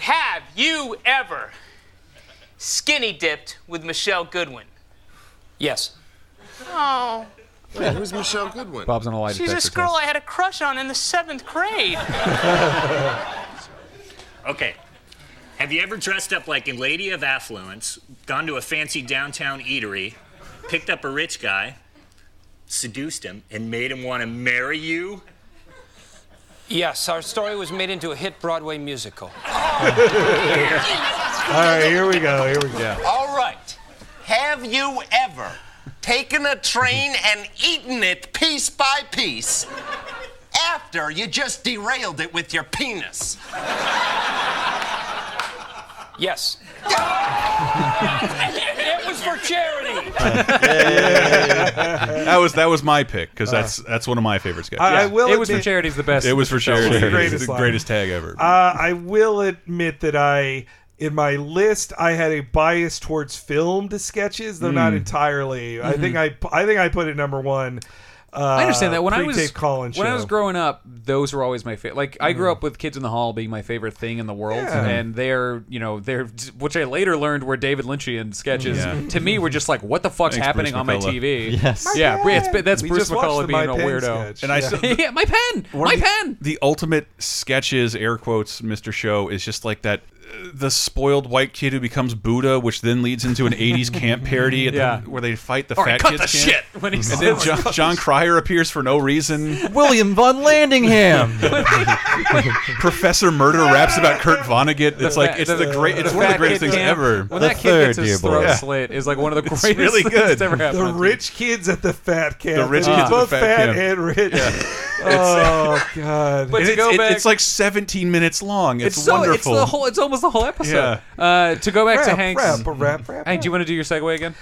Have you ever skinny dipped with Michelle Goodwin?
Yes.
Oh.
Wait, who's Michelle Goodwin?
Bob's on a lie
She's this
detector
girl I had a crush on in the seventh grade.
Okay. Have you ever dressed up like a lady of affluence, gone to a fancy downtown eatery, picked up a rich guy, seduced him, and made him want to marry you?
Yes, our story was made into a hit Broadway musical.
All right, here we go. Here we go.
All right. Have you ever taken a train and eaten it piece by piece after you just derailed it with your penis? Yes. it was for charity.
that was that was my pick because that's that's one of my favorite sketches.
Uh. I- I will It was for admit-
charity's the best.
It was for
That was
charity.
the
It's
greatest
the
line.
greatest tag ever.
Uh, I will admit that I, in my list, I had a bias towards filmed sketches, though not
Mm.
entirely. I
Mhm.
think I, I think I put it number one. Uh,
I understand that when I was
pre-tape Colin
when I
show.
was growing up, those were always my favorite. Like I grew
Mm-hmm.
up with Kids in the Hall being my favorite thing in the world,
Yeah.
and they're you know they're which I later learned were David Lynchian sketches.
Yeah.
To me, were just like what the fuck's
Mm-hmm. Thanks,
happening
Bruce
on
McCullough.
my TV?
Yes. My
yeah,
pen.
it's, that's
We
Bruce
just watched
McCullough
the My
being a
Pen
weirdo.
sketch. And I Yeah. still-
yeah, my pen,
One
my
of the-
pen.
The ultimate sketches, air quotes, Mr. Show is just like that. uh, The spoiled white kid who becomes Buddha, which then leads into an '80s camp parody, at the-
Yeah.
where they fight the
All right,
fat
cut
kids.
the
camp.
shit when he
and then
says-
John, John Cryer appears for no reason.
William von Landingham.
Professor Murder raps about Kurt Vonnegut. It's like it's the, great. It's one of the
fat
greatest
kid
things
camp,
ever.
When that kid gets his throat slit is like one of the
It's
greatest
really
things
good.
that's ever happened.
the
on TV.
rich kids at the fat camp.
The rich
They were
kids at the
both
fat
fat,
camp.
and rich.
It's-
Oh god!
But
And
to
it's,
go
it-
back-
it's like 17 minutes long. It's,
so,
wonderful.
It's the whole. It's almost the whole episode. Uh, to go back to
Rap,
Hank's.
rap, rap, rap,
Hank, do you want to do your segue again?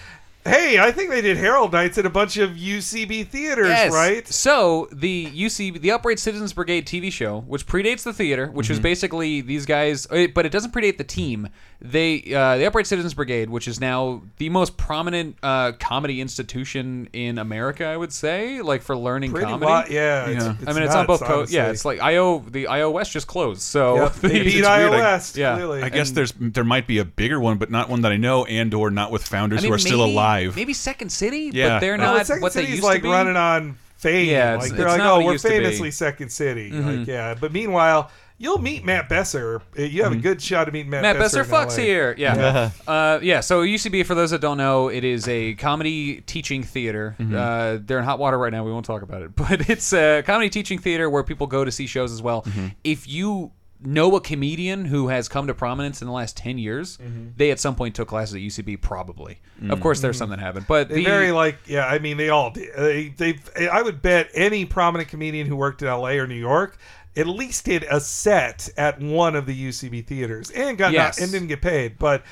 Hey, I think they did Herald Nights at a bunch of UCB theaters,
Yes.
right?
So the UC, the Upright Citizens Brigade TV show, which predates the theater, which
Mm-hmm.
was
Mhm.
basically these guys, eh, but it doesn't predate the team. They, uh, the Upright Citizens Brigade, which is now the most prominent uh, comedy institution in America, I would say, like for learning
Pretty
comedy.
wa- yeah, it's- it's
I mean, it's on
nuts,
both coasts. Yeah,
honestly.
it's like IO, the IO West just closed, so
Yep, they beat
It's weird, I-
IO West,
Yeah,
I guess there's there might be a bigger one, but not one that I know, and or not with founders who are still
maybe-
alive.
Maybe Second City,
Yeah.
but they're
Well,
not
Second
what they
City's
used
like
to be.
running on fame.
Yeah,
like
it's-
they're
it's
like,
not
oh,
what it
we're
used to be."
famously Second City. Like,
Mhm.
yeah. But meanwhile, you'll meet Matt Besser. Uh, You have a good shot of meeting Matt,
Mm-hmm. Matt
Besser.
Besser
in
Fox
LA.
here. Yeah. uh, yeah. So UCB, for those that don't know, it is a comedy teaching theater.
Mm-hmm.
Mhm.
Uh, they're in hot water right now. We won't talk about it, but it's a comedy teaching theater where people go to see shows as well.
Mm-hmm.
Mhm.
If you know a comedian who has come to prominence in the last 10 years
Mm-hmm.
they at some point took classes at ucb probably of
Mm.
course there's some that haven't but
they
the,
very like yeah. I mean, they all did. They, they I would bet any prominent comedian who worked in L.A. or New York at least did a set at one of the UCB theaters and got
Yes.
not, and didn't get paid. But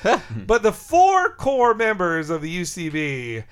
but the four core members of the UCB,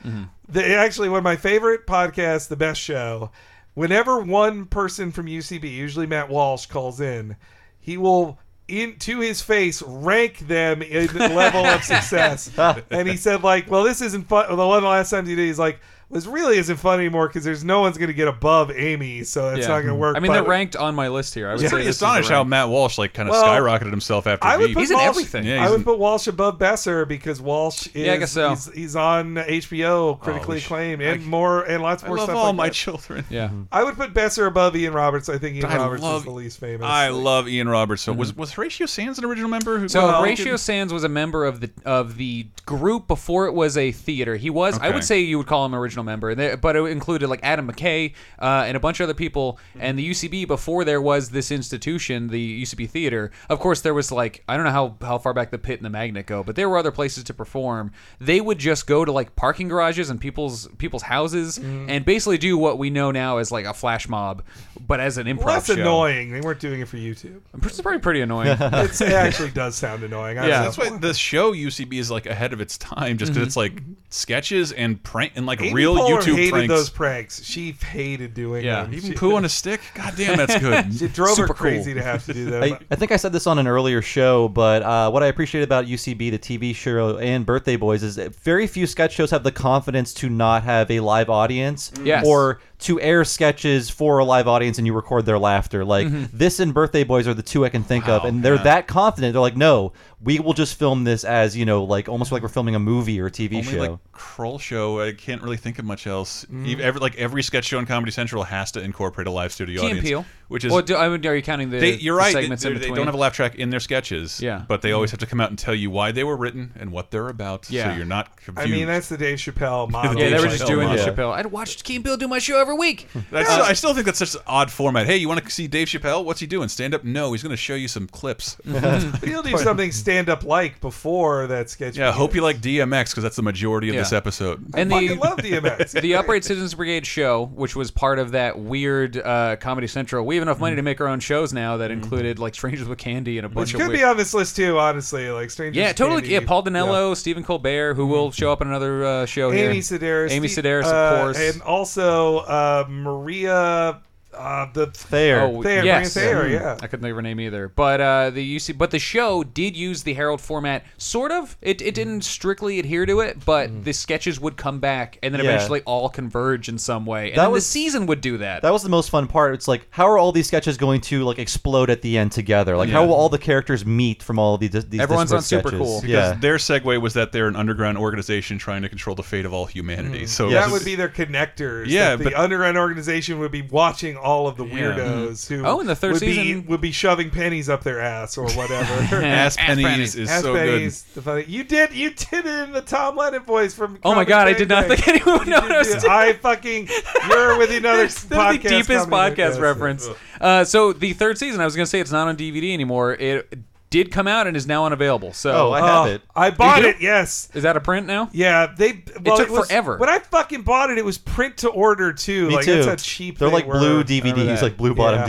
they actually one of my favorite podcasts, the best show. Whenever one person from UCB, usually Matt Walsh, calls in, he will. In, to his face, rank them in level of success and he said like, "Well, this isn't fun." Well, the one of the last times he did, he's like, "This really isn't fun anymore because there's no one's going to get above Amy, so it's
yeah.
not going to work."
i mean
but
they're ranked on my list here i
I
would
was
say
pretty
this is the
astonished how
rank.
Matt Walsh like kind of
Well,
skyrocketed himself after.
I would
Veep.
put Walsh,
Yeah, he's
I
in-
would put Walsh above Besser because Walsh is
Yeah, I guess so. Oh,
he's, he's on HBO, critically acclaimed, and more and lots
I
more
love
stuff.
all
like
my
that.
children. Mm-hmm.
Yeah.
I would put Besser above Ian Roberts. I think Ian
I
Roberts is
love-
the least famous.
I love Ian Roberts. So
Mm-hmm.
was was Horatio Sands an original member? Who
So Horatio Sands was a member of the of the group before it was a theater. He was, I
Okay.
would say, you would call him original member, There- but it included like Adam McKay uh, and a bunch of other people. And the UCB before there was this institution, the UCB theater. Of course, there was like I don't know how how far back the pit and the magnet go, but there were other places to perform. They would just go to like parking garages and people's people's houses
Mm.
and basically do what we know now as like a flash mob, but as an improv
Well, that's
show.
annoying. They weren't doing it for YouTube.
It's probably pretty annoying.
It's- it actually does sound annoying. I
yeah,
know.
that's why the show UCB is like ahead of its time, just because
Mhm.
it's like sketches and prank and like
Amy
real
Poehler
YouTube
hated
pranks.
those pranks. She hated doing
Yeah.
them.
Even
She-
poo on a stick? God damn, that's good.
it drove
Super
her
cool.
crazy to have to do that.
I, I think I said this on an earlier show, but uh, what I appreciate about UCB, the TV show, and Birthday Boys is that very few sketch shows have the confidence to not have a live audience
Mm. Yes.
or to air sketches for a live audience and you record their laughter. Like
Mhm.
this and Birthday Boys are the two I can think of, and they're
yeah.
that confident. They're like, no, we will just film this as you know, like almost like we're filming a movie or a TV
Only
show.
like Kroll show. I can't really think of much else.
Mm-hmm.
Mm.
Even every like every sketch show on Comedy Central has to incorporate a live studio
Key and
audience,
Peele.
which is.
Well, do- I mean, are you counting the-
they, you're
the
right.
segments
they,
in
they
between?
don't have a laugh track in Mm-hmm. their sketches.
Yeah.
but they always have to come out and tell you why they were written and what they're about.
Yeah.
so you're not
I
confused.
mean, that's the Dave Chappelle model.
Dave Chappelle model.
I'd watched Key and Bill do my show every week.
That's, I still think that's such an odd format. Hey, you want to see Dave Chappelle? What's he doing? Stand up? No, he's going to show you some clips.
Hmm.
Mm-hmm.
He'll do something stand up like before that sketch.
yeah, I hope you like DMX because that's the majority of
Yeah.
this episode.
and the
love DMX.
the Upright Citizens Brigade show, which was part of that weird uh, Comedy Central. We have enough money to make our own shows now that included like Strangers with Candy and a bunch
Mm-hmm. Which
of
could
weird.
be on this list too, honestly. Like Stranger.
yeah, totally. Yeah, Paul Danello, Stephen Colbert, who will show up in another uh, show here.
Amy Sedaris.
Amy
Steve-
Sedaris, of
uh,
course.
and also uh, Maria. Uh, the
Thayer.
Oh,
Thayer,
yes.
Maria Thayer,
Mm.
yeah.
I couldn't think of her name either. But uh, the UC, but the show did use the Herald format, sort of. It,
Mm-hmm.
it didn't strictly adhere to it, but the sketches would come back and then
Yeah.
eventually all converge in some way. And
That
then
was-
the season would do that.
That was the most fun part. It's like, how are all these sketches going to like explode at the end together? Like, how
Yeah.
will all the characters meet from all these? these disparate sketches?
Because
Yeah.
their segue was that they're an underground organization trying to control the fate of all humanity. So
Hmm. that would be their connectors.
Yeah,
that the
but-
underground organization would be watching all of the
Yeah.
weirdos who
Oh, and the third
would
season-
be, would be shoving pennies up their ass or whatever.
Ass Ass pennies pennies. is
Ass
so good.
pennies, The funny, you did you did it in the Tom Lennon voice from.
Oh my
Comic
God, I
Bang
did not
Bang.
think anyone
You did
noticed.
do- I fucking you're with another
That's the
podcast.
deepest
comedy
podcast
podcast.
reference. Uh, so the third season, I was gonna say it's not on DVD anymore. It did come out and is now unavailable. So
Oh, I have it.
Uh, I
You
bought
do?
it. Yes.
Is that a print now?
Yeah, they. Well,
took
was-
forever.
When I fucking bought it, it was print to order too.
Me
like
too.
that's how cheap
They're
they
like
were.
blue
I
DVDs,
remember that.
like blue bottom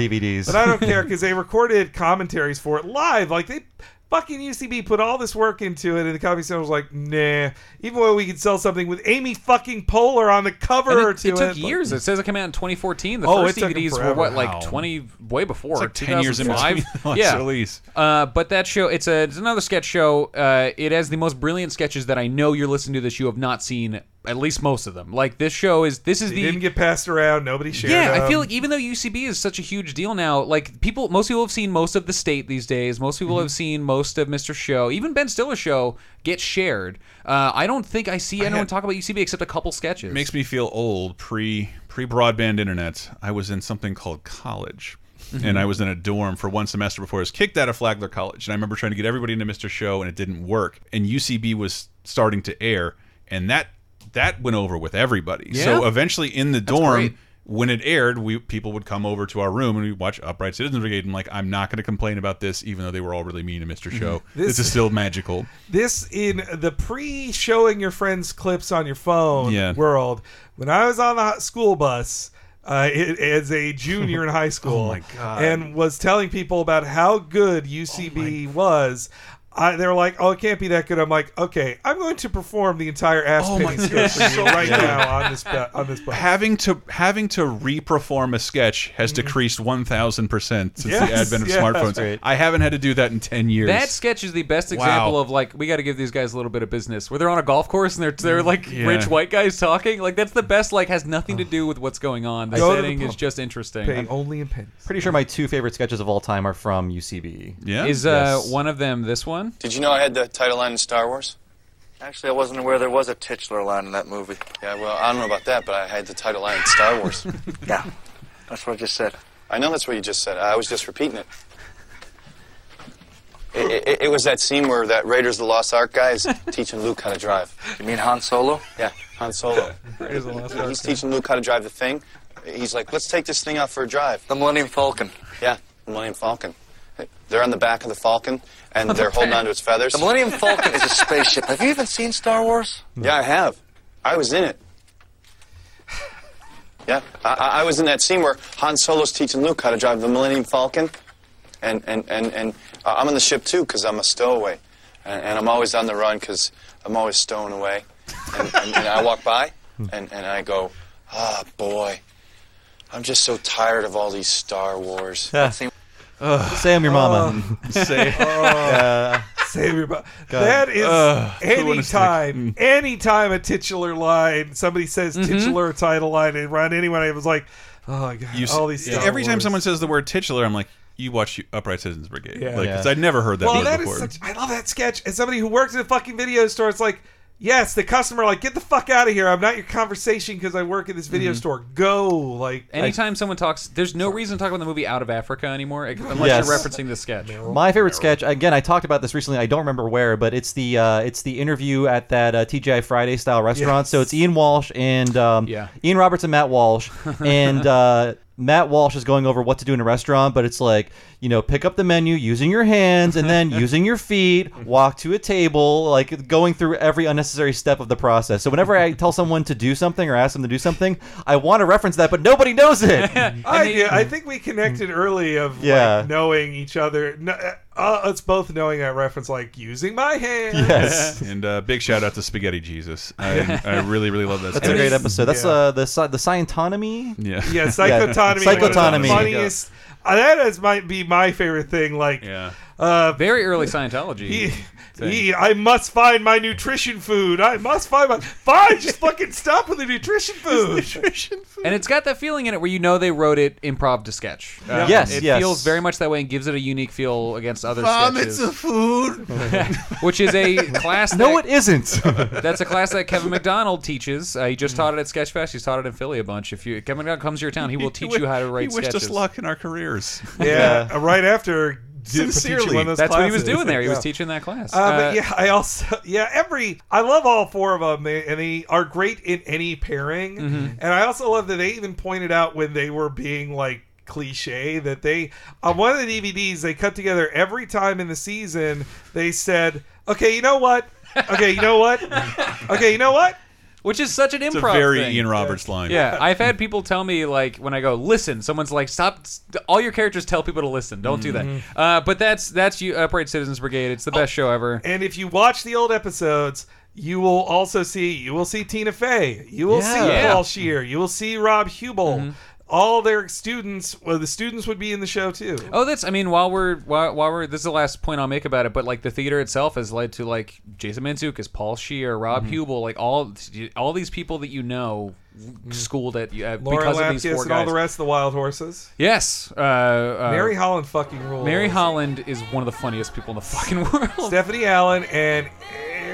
DVDs.
But I don't care because they recorded commentaries for it live. Like they Fucking UCB put all this work into it, and the Comedy Central was like, nah. Even when we could sell something with Amy fucking Poehler on the cover
And
or
it,
two.
it took
and-
years. It says it came out in 2014. The
Oh,
first
it took 'em
DVDs were
forever.
what,
Wow.
like 20, way before
It's like 10 years in
2005?
between the last
yeah.
release.
Uh, but that show, it's a, it's another sketch show. Uh, it has the most brilliant sketches that I know you're listening to this. You have not seen at least most of them. Like this show is this is
They
the
didn't get passed around. Nobody shared.
yeah, I feel
them.
like even though UCB is such a huge deal now, like people, most people have seen most of the state these days. Most people have seen most of Mr. Show, even Ben Stiller's show get shared. Uh, I don't think I see anyone talk about UCB except a couple sketches.
It makes me feel old. Pre pre broadband internet, I was in something called college.
Mhm.
And I was in a dorm for one semester before I was kicked out of Flagler College. And I remember trying to get everybody into Mr. Show, and it didn't work. And UCB was starting to air, and that that went over with everybody. So
Yeah?
eventually, in the
That's
dorm,
great.
when it aired, we people would come over to our room and we would watch Upright Citizens Brigade. And like, I'm not going to complain about this, even though they were all really mean to Mr.
Mm-hmm.
Show.
This-
this is still magical.
this in the pre-showing your friends clips on your phone
Yeah.
world. When I was on the hot school bus uh, it, as a junior in high school,
Oh my God.
and was telling people about how good
Oh
UCB was. I, they were like, "Oh, it can't be that good." I'm like, "Okay, I'm going to perform the entire ass
Oh my
pinning sketch for you
God.
right
Yeah.
now on this bu- on this bus."
having to having to re-perform a sketch has
Mm-hmm.
decreased one thousand percent since
Yes,
the advent of
yes.
smartphones.
Right.
I haven't had to do that in ten years.
That sketch is the best example
Wow.
of like we got to give these guys a little bit of business. Where they're on a golf course and they're they're like
Yeah.
rich white guys talking. Like that's the best. Like has nothing to do with what's going on. The
Go to the
setting is
pub.
just interesting.
Pay only in pennies.
Pretty sure my two favorite sketches of all time are from UCB.
Is uh, one of them this one?
Did you know I had the title line in Star Wars? Actually, I wasn't aware there was a titular line in that movie. Yeah, well, I don't know about that, but I had the title line in Star Wars. yeah, that's what I just said. I know that's what you just said. I was just repeating it. It, it, it was that scene where that Raiders of the Lost Ark guy is teaching Luke how to drive. You mean Han Solo? Yeah, Han Solo. Raiders of the Lost Ark. He's teaching Luke how to drive the thing. He's like, let's take this thing out for a drive. The Millennium Falcon. Yeah, the Millennium Falcon. They're on the back of the Falcon, and they're holding onto its feathers.
The Millennium Falcon is a
spaceship. Have you even seen Star Wars? Yeah, I have. I was in it. Yeah, I- I, I was in that scene where Han Solo's teaching Luke how to drive the Millennium Falcon, and and and and uh, I'm on the ship too because I'm a stowaway, and, and I'm always on the run because I'm always stowing away, and, and, and I walk by, and and I go, ah boy, I'm just so tired of all these Star Wars.
Yeah. Sam, your mama.
Sam.
Yeah.
Save your butt.
God.
That is
Ugh, who
any
would've
time, any time
Hmm.
a titular line, somebody says
Mhm.
titular title line, and around anyone, I was like, oh god,
You s-
all these.
yeah.
Star
every time
Wars.
someone says the word titular, I'm like, you watch Upright Citizens Brigade.
Yeah.
Like, 'cause
Yeah.
I'd never heard that
well,
word
that is
before.
such- I love that sketch. As somebody who works in a fucking video store, it's like, yes, the customer, like, get the fuck out of here. I'm not your conversation because I work in this video
Mm-hmm.
Mhm.
store. Go, like,
Anytime someone talks, there's no reason to talk about the movie Out of Africa anymore, unless
Yes.
you're referencing this sketch.
My favorite sketch, again, I talked about this recently. I don't remember where, but it's the uh, it's the interview at that uh, TGI Friday style restaurant. So it's Ian Walsh and um,
Yeah.
Ian Roberts and Matt Walsh, and uh, Matt Walsh is going over what to do in a restaurant. But it's like you know, pick up the menu using your hands, and then using your feet, walk to a table, like going through every unnecessary step of the process. So whenever I tell someone to do something or ask them to do something, I want to reference that, but nobody knows it.
I, do.
Mm.
I think we connected early of
Yeah.
like knowing each other. No, uh, us both knowing that reference, like using my hand.
and uh, big shout out to Spaghetti Jesus. I, I really, really love that.
That's a
sketch.
great episode. That's uh, the sci- the scientonomy.
Yeah.
yeah, psychotonomy.
Yeah.
was
Psychotonomy.
The funniest. Uh, that is might be my favorite thing. Like, uh,
very early Scientology. thing.
He, I must find my nutrition food. I must find my. Fine, just fucking stop with the nutrition food.
And it's got that feeling in it where you know they wrote it improv to sketch. Um,
Yeah. Yes,
it
yes.
feels very much that way and gives it a unique feel against other sketches.
food.
which is a class.
No,
that-
it isn't.
That's a class that Kevin McDonald teaches. Uh, he just taught it at Sketchfest. He's taught it in Philly a bunch. If you Kevin McDonald comes to your
uh,
town, he will teach you how to write
He wished
sketches.
us luck in our careers.
Yeah, uh, right after. did-
Sincerely.
teaching one of those
That's what he was
classes.
doing there. He was
Yeah.
teaching that class.
Uh,
Uh,
but yeah, I also yeah every I love all four of them, they- and they are great in any pairing.
Mhm.
And I also love that they even pointed out when they were being like cliche that they on one of the DVDs they cut together every time in the season they said, okay, you know what, okay, you know what, okay, you know what.
which is such an improv.
It's a very
thing.
Ian Roberts line.
Yeah, I've had people tell me like when I go listen, someone's like, "Stop! st- All your characters tell people to listen. Don't do
Mhm.
Mm-hmm.
that." Uh, but that's that's you, Upright Citizens Brigade. It's the best show ever.
Oh, And if you watch the old episodes, you will also see you will see Tina Fey, you will see
Yeah. Mm-hmm.
Paul Shear, you will see Rob Hubel. All their students, well, the students would be in the show too.
Oh, that's. I mean, while we're while, while we're this is the last point I'll make about it, but like the theater itself has led to like Jason Mantzoukas, Paul Shear, Rob
Mhm.
Hubel, like all all these people that you know schooled at uh,
Mm-hmm. Laura
because of these
Lapkus
four
and
guys.
all the rest of the Wild Horses.
yes, uh, uh,
Mary Holland fucking rules.
Mary Holland is one of the funniest people in the fucking world.
Stephanie Allen and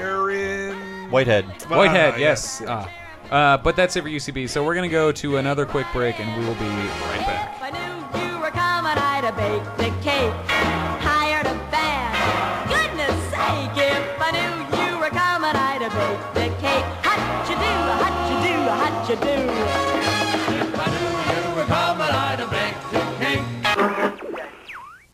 Aaron
Whitehead.
Whitehead,
Ah,
yes. Ah. Uh, but that's it for UCB. So we're gonna go to another quick break, and we will be right back.
If I knew you were coming, I'd have baked a cake, hired a band. Goodness sake, if I knew you were coming, I'd have baked a cake. Hot you do, hot you do, hot you do. If I knew you were coming, I'd have baked a cake.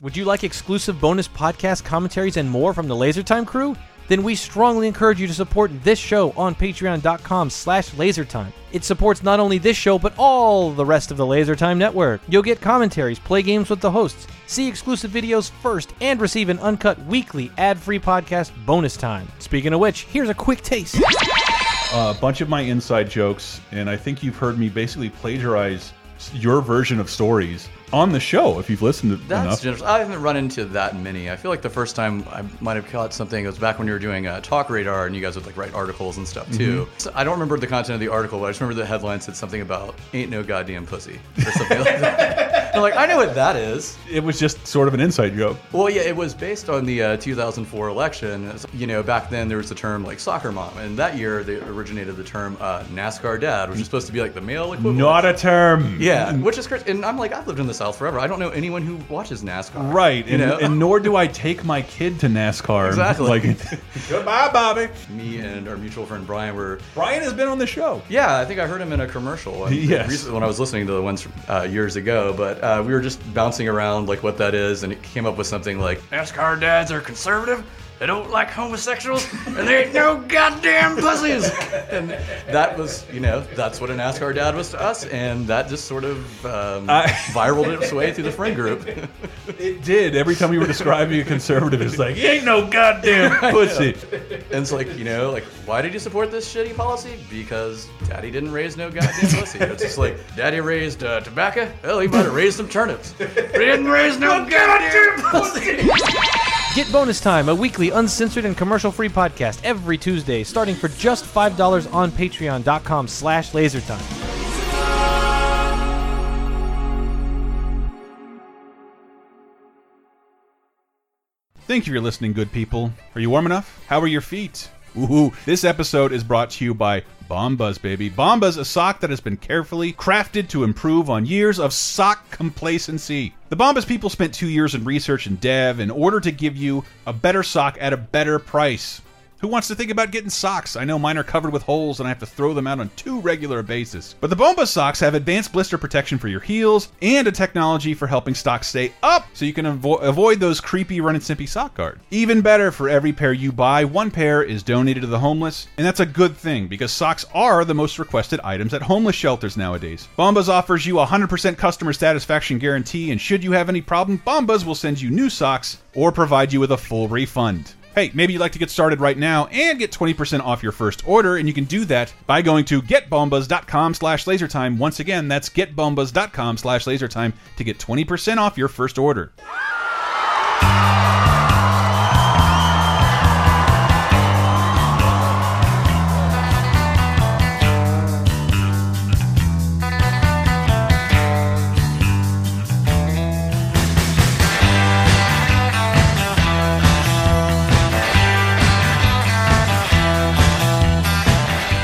Would you like exclusive bonus podcast commentaries and more from the Lasertime crew? Then we strongly encourage you to support this show on patreon.com slash lasertime. It supports not only this show, but all the rest of the Lasertime network. You'll get commentaries, play games with the hosts, see exclusive videos first, and receive an uncut weekly ad-free podcast bonus time. Speaking of which, here's a quick taste.
a bunch of my inside jokes, and I think you've heard me basically plagiarize your version of stories on the show if you've listened to
That's
enough.
generous. I haven't run into that many. I feel like the first time I might have caught something was back when you were doing uh, Talk Radar and you guys would like write articles and stuff too.
Mhm.
So I don't remember the content of the article, but I just remember the headline said something about "Ain't no goddamn pussy" or something like that. I'm like, I know what that is.
it was just sort of an inside joke.
Well, yeah, it was based on the uh, 2004 election. It's- You know, back then there was the term like soccer mom, and that year they originated the term uh, NASCAR dad, which is supposed to be like the male equivalent.
Not a term.
Yeah, which is crazy. And I'm like, I've lived in the South forever. I don't know anyone who watches NASCAR.
Right.
You
and,
know?
and nor do I take my kid to NASCAR.
Exactly.
Like,
Goodbye, Bobby. Me and our mutual friend Brian were.
Brian has been on the show.
Yeah, I think I heard him in a commercial. and
Yes.
recently When I was listening to the ones uh, years ago, but uh, we were just bouncing around like what that is, and it came up with something like
NASCAR dads are conservative. They don't like homosexuals, and they ain't no goddamn pussies.
and that was, you know, that's what a NASCAR dad was to us, and that just sort of um,
I-
viraled its way through the friend group.
it did. Every time you were describing a conservative, it's like, "You ain't no goddamn
I know.
pussy.
And it's like, you know, like, why did you support this shitty policy? Because daddy didn't raise no goddamn pussy. It's just like, daddy raised uh, tobacco? Well, he might have raised some turnips. But he didn't raise no goddamn pussy.
Get Bonus Time, a weekly uncensored and commercial-free podcast every Tuesday, starting for just $5 on patreon.com slash lasertime.
Thank you for listening, good people. Are you warm enough? How are your feet? Ooh, this episode is brought to you by Bombas, baby. Bombas, a sock that has been carefully crafted to improve on years of sock complacency. The Bombas people spent two years in research and dev in order to give you a better sock at a better price. Who wants to think about getting socks? I know mine are covered with holes and I have to throw them out on too regular a basis. But the Bomba socks have advanced blister protection for your heels and a technology for helping stocks stay up so you can avo avoid those creepy run and simpy sock guard. Even better, for every pair you buy, one pair is donated to the homeless, and that's a good thing because socks are the most requested items at homeless shelters nowadays. Bombas offers you a 100% customer satisfaction guarantee, and should you have any problem, Bombas will send you new socks or provide you with a full refund. Hey, maybe you'd like to get started right now and get 20% off your first order, and you can do that by going to getbombas.com slash lasertime. Once again, that's getbombas.com slash lasertime to get 20% off your first order.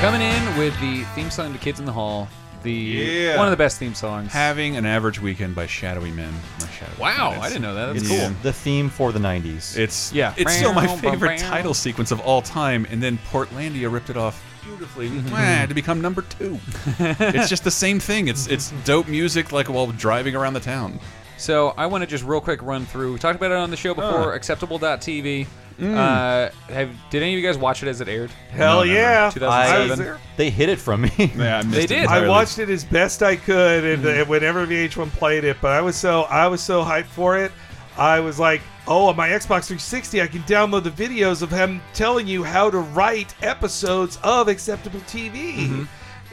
Coming in with the theme song to Kids in the Hall, the
Yeah.
one of the best theme songs.
Having an average weekend by Shadowy Men. By Shadowy
Wow,
Men.
I didn't know that. That's
it's-
cool.
yeah.
The theme for the 90s.
It's
Yeah.
It's still my
Brown,
favorite
brown, brown.
title sequence of all time, and then Portlandia ripped it off beautifully
Mm-hmm.
mwah, to become number two. it's just the same thing. It's it's
Mm-hmm.
dope music like while driving around the town.
So I want to just real quick run through. We talked about it on the show before.
Ah.
Acceptable.tv.
Mm.
Uh, have did any of you guys watch it as it aired?
Hell
I don't remember.
yeah. I was
2007.
there.
They hid it from me.
Yeah,
They did.
I watched it as best I could,
Hmm.
and uh, whenever VH1 played it, but I was so I was so hyped for it. I was like, "Oh, on my Xbox 360, I can download the videos of him telling you how to write episodes of acceptable TV."
Mm-hmm.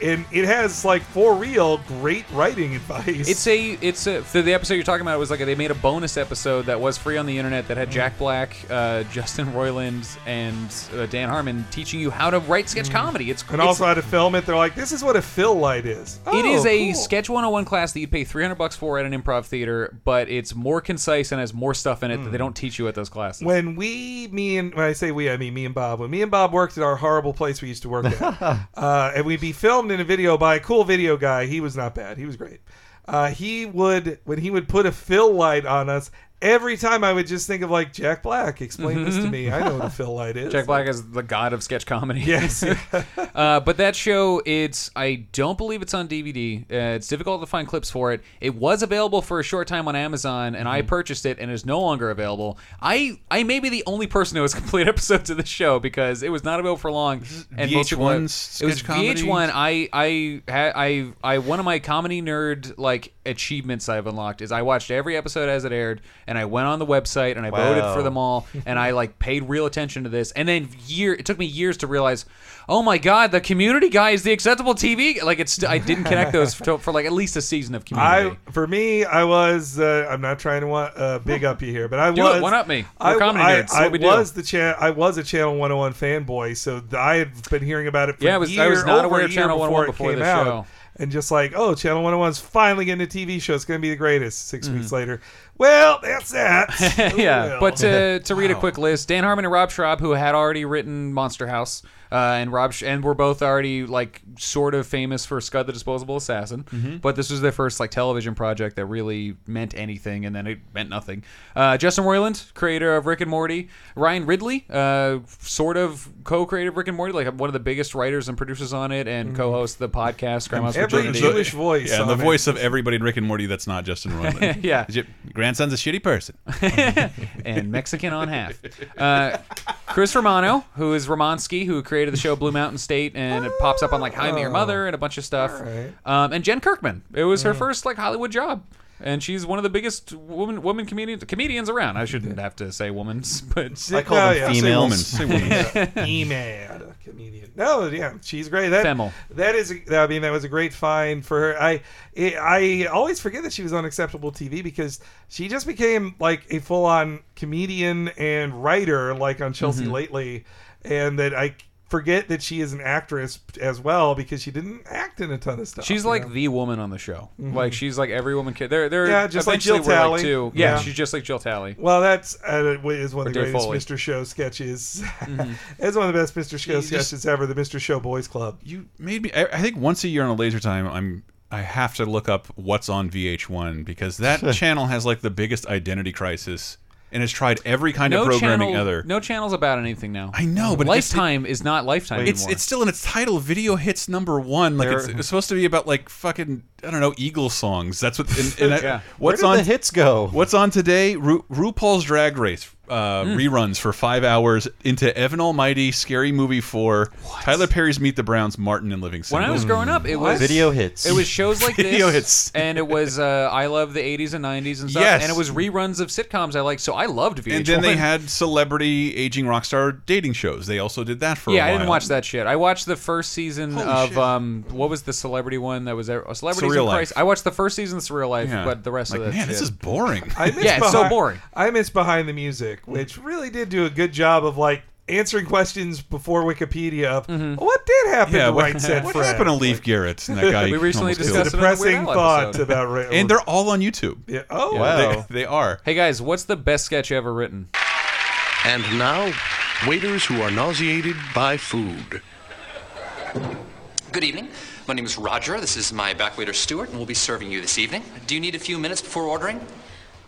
And it has like for real great writing advice.
It's a it's a for the episode you're talking about. It was like they made a bonus episode that was free on the internet that
Mm.
had Jack Black, uh, Justin Roiland, and uh, Dan Harmon teaching you how to write sketch comedy. It's
Mm. and
it's-
also how to film it. They're like, "This is what a fill light is."
it
Oh,
is a
cool.
sketch 101 class that you'd pay 300 bucks for at an improv theater, but it's more concise and has more stuff in it that
Mm.
they don't teach you at those classes.
When we, me and when I say we, I mean me and Bob. When me and Bob worked at our horrible place we used to work at, uh, and we'd be filmed in a video by a cool video guy. He was not bad. He was great. Uh, he would when he would put a fill light on us. Every time I would just think of like Jack Black. Explain this to me. I know what a fill light is.
Mm-hmm. Jack Black is the god of sketch comedy.
Yes.
uh, but that show, it's I don't believe it's on DVD. Uh, it's difficult to find clips for it. It was available for a short time on Amazon, and
Mm-hmm.
I purchased it, and is no longer available. I I may be the only person who has complete episodes of this show because it was not available for long. And most people-
VH1's
it was
sketch comedy?
VH1. I I ha- I I one of my comedy nerd like achievements I've unlocked is I watched every episode as it aired, and I went on the website and I voted
Wow.
for them all, and I like paid real attention to this. And then year it took me years to realize, oh my god, the Community guy is the acceptable TV. Like it's I didn't connect those for, for like at least a season of Community.
I for me, I was. Uh, I'm not trying to want, uh, big up you here, but I
Do it.
was
One-up me.
I,
We're comedy
I,
nerds. It's what
I
we do.
was the chan- I was a Channel 101 fanboy, so th- I had been hearing about it for
Yeah, I was-
year,
I was not
over
aware
a
of
year
Channel
before
101
it
before
came
this
out.
show.
And just like, oh, Channel 101's finally getting a TV show. It's going to be the greatest. 6 weeks later, well, that's that.
Mm-hmm. yeah,
Well.
but to, to read a quick list, Dan Harmon and Rob Schraub, who had already written Monster House, uh, and Rob Sch- and were both already like sort of famous for Scud the Disposable Assassin,
Mhm.
but this was their first like television project that really meant anything, and then it meant nothing. Uh, Justin Roiland, creator of Rick and Morty, Ryan Ridley, uh, sort of co-creator of Rick and Morty, like one of the biggest writers and producers on it, and co-hosts the podcast Grandma's Virginity.
Yeah, and the voice of everybody in Rick and Morty that's not Justin Roiland.
Yeah.
Your grandson's a shitty person.
and Mexican on half. Uh, Chris Romano, who is Romansky, who created the show Blue Mountain State, and it pops up on like How I Met Your Mother and a bunch of stuff. Um, and Jen Kirkman, it was
Mm.
her first like Hollywood job, and she's one of the biggest woman woman comedians comedians around. I shouldn't have to say women's, but
I call them Oh, Yeah, yeah, say females. woman, say
Yeah.
Email comedian. No, yeah, she's great. That
Femel.
that is. I mean, that was a great find for her. I it, I always forget that she was on Acceptable TV because she just became like a full on comedian and writer, like on Chelsea
Mhm.
lately, and that I forget that she is an actress as well because she didn't act in a ton of stuff.
She's
you
like
know?
the woman on the show.
Mhm.
Like she's like every woman kid. They're they're
Yeah, just like
eventually
Jill
we're,
Talley.
two. Yeah,
Yeah.
she's just like Jill Talley.
Well, that's uh, is one
Or
of the
Dave
greatest
Foley. Mm-hmm.
Mr. Show sketches. it's one of the best Mr. Show
You just-
sketches ever. The Mr. Show Boys Club.
You made me. I, I think once a year on a laser time, I'm I have to look up what's on VH1 because that channel has like the biggest identity crisis and has tried every kind of programming
channel,
other.
No channel's about anything now. I
know, but it just-
Lifetime is not Lifetime
It's
anymore.
it's still in its title. Video hits number one. Like
There-
it's, it's supposed to be about like fucking I don't know Eagle songs. That's what. And, and that-
Yeah.
What's
Where
on
did the hits go?
What's on today? Ru RuPaul's Drag Race uh,
Hmm.
reruns for five hours into Evan Almighty, Scary Movie Four, Tyler Perry's Meet the Browns, Martin and Livingston.
When I
Hmm.
was growing up, it was It was shows like
Mm. Video
this,
hits.
and it was uh, I love the '80s and '90s and stuff,
Yes.
and it was reruns of sitcoms I liked. So I loved VH1.
And then they had celebrity aging rock star dating shows. They also did that for a
yeah,
while.
I didn't watch that shit. I watched the first season
Holy
of
shit.
um, what was the celebrity one that was there? Oh, Celebrities
Surreal
in
Life.
Christ. I watched the first season of Surreal Life,
Yeah.
but the rest
Like,
of that
man, this
shit.
is boring.
I miss
yeah, it's so
Behind-
boring.
I miss Behind the Music, which really did do a good job of like answering questions before Wikipedia of
Mm-hmm.
what did happen
Yeah,
to
what-
Right Said
what
Fred?
happened to Leif Garrett and that guy
We recently
almost killed?
discussed it on the Weird
depressing
Al
thoughts
episode.
about Ra-
And they're all on YouTube.
Yeah. Oh,
wow. They, they are.
Hey guys, what's the best sketch ever written?
And now, waiters who are nauseated by food.
Good evening. My name is Roger. This is my backwaiter Stuart, and we'll be serving you this evening. Do you need a few minutes before ordering?